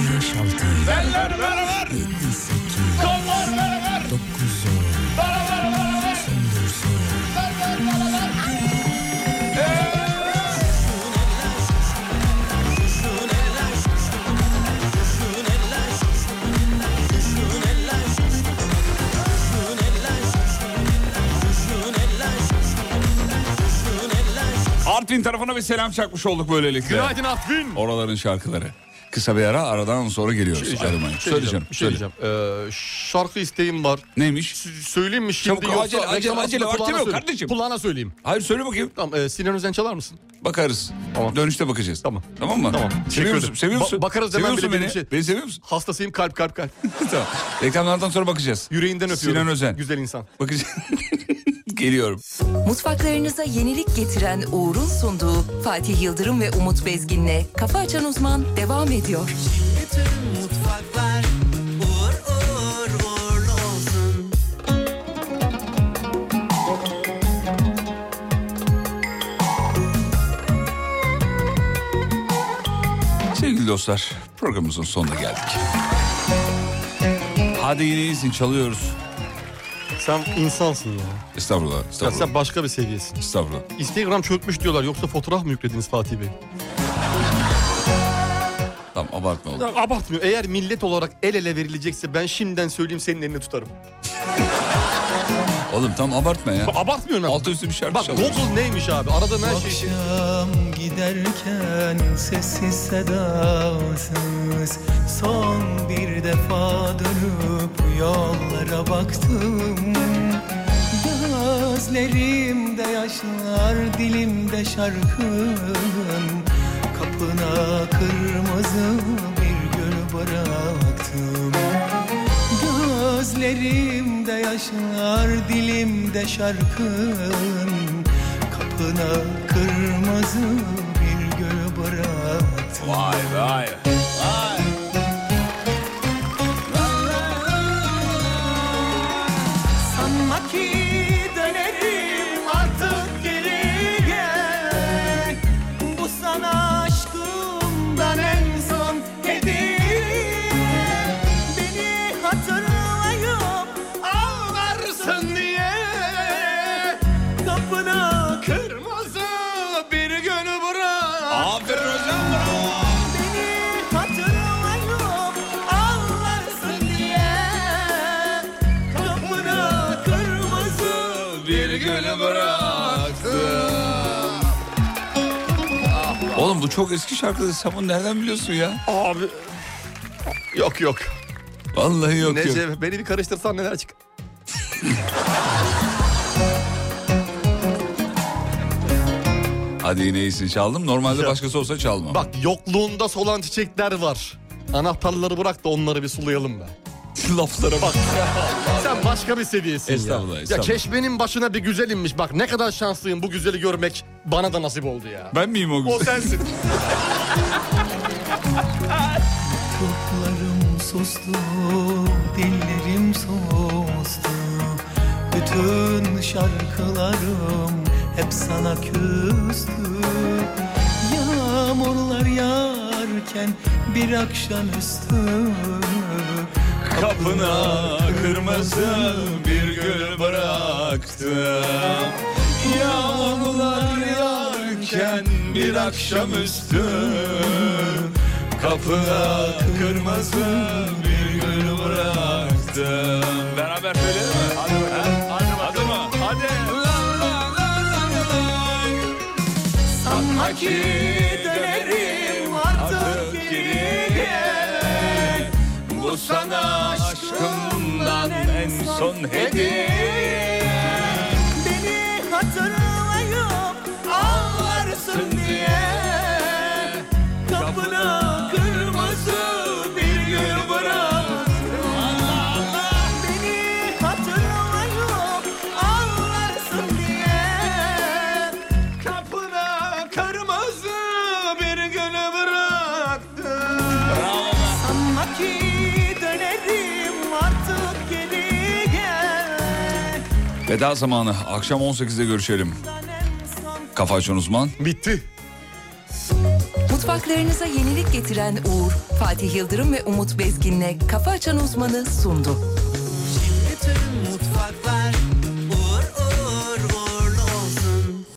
Beller beraber Kollar beraber Beraber beraber Beller beraber Artvin tarafına bir selam çakmış olduk böylelikle. Günaydın Artvin. Oraların şarkıları. Kısa bir ara aradan sonra geliyoruz. Bir şey diyeceğim, Ayrılmayın. bir şey Söyleyeceğim. diyeceğim, bir şey söyle. diyeceğim. Ee, şarkı isteğim var. Neymiş? söyleyeyim mi şimdi? Çabuk, yoksa acele, acele, reklam arasında acele, vaktim kulağına yok söyleyeyim. kardeşim. Kulağına söyleyeyim. Hayır söyle bakayım. Tamam, e, Sinan Özen çalar mısın? Bakarız. Dönüşte bakacağız. Tamam. Tamam mı? Tamam. Seviyor teşekkür musun? ederim. Seviyor Ba- musun? bakarız Seviyor hemen musun bile benim beni? şey. Beni seviyor musun? Hastasıyım kalp kalp kalp. tamam. Reklamlardan sonra bakacağız. Yüreğinden öpüyorum. Sinan Özen. Güzel insan. Bakacağız. Geliyorum. Mutfaklarınıza yenilik getiren Uğur'un sunduğu Fatih Yıldırım ve Umut Bezgin'le Kafa Açan Uzman devam ediyor. Bütün mutfaklar uğur uğur uğurlu olsun. Sevgili dostlar programımızın sonuna geldik. Hadi yine iyisin çalıyoruz. Sen insansın ya. Estağfurullah. Ya estağfurullah. sen başka bir seviyesin. Estağfurullah. Instagram çökmüş diyorlar. Yoksa fotoğraf mı yüklediniz Fatih Bey? Tamam abartma oğlum. Ya abartmıyor. Eğer millet olarak el ele verilecekse ben şimdiden söyleyeyim senin elini tutarım. Oğlum tam abartma ya. Abartmıyorsun abi. Altı üstü bir şarkı Bak çalıyoruz. Google neymiş abi? Aradan her şey. Akşam giderken sessiz sedasız Son bir defa dönüp yollara baktım Gözlerimde yaşlar dilimde şarkım Kapına kırmızı bir gül bıraktım Gözlerimde yaşlar dilimde şarkım Kapına kırmızı bir gül bıraktım Vay vay. Sanma ki dönerim artık geriye Bu sana aşkımdan en son hediye Beni hatırlayıp ağlarsın diye bir gülü bıraktım. Oğlum bu çok eski şarkı. Sen bunu nereden biliyorsun ya? Abi. Yok yok. Vallahi yok Neyse, yok. beni bir karıştırsan neler çık. Hadi yine iyisin çaldım. Normalde başkası olsa çalmam. Bak yokluğunda solan çiçekler var. Anahtarları bırak da onları bir sulayalım be. Laflara bak. Sen başka bir seviyesin Estağfurullah, ya. şey- estağfurullah. Ya keşmenin başına bir güzel inmiş. Bak ne kadar şanslıyım bu güzeli görmek bana da nasip oldu ya. Ben miyim o O sensin. Kulaklarım sustu, dillerim sustu Bütün şarkılarım hep sana küstü Yağmurlar yağarken bir akşamüstü Kapına kırmızı bir gül bıraktım. Yağmurlar yağarken bir akşamüstü Kapına kırmızı bir gül bıraktım Beraber söyleyelim mi? Hadi bakalım. Hadi bakalım. Hadi. Sanma ki dönerim artık geriye Bu sana aşkımdan en son hediye Beni hatırlayıp ağlarsın diye Kapına kırmızı bir gül bıraktım Beni hatırlayıp ağlarsın diye Kapına kırmızı bir gül bıraktım Sanma ki dönerim artık geriye Veda zamanı. Akşam 18'de görüşelim. Kafa açan uzman. Bitti. Mutfaklarınıza yenilik getiren Uğur, Fatih Yıldırım ve Umut Bezgin'le Kafa Açan Uzman'ı sundu. Bütün mutfaklar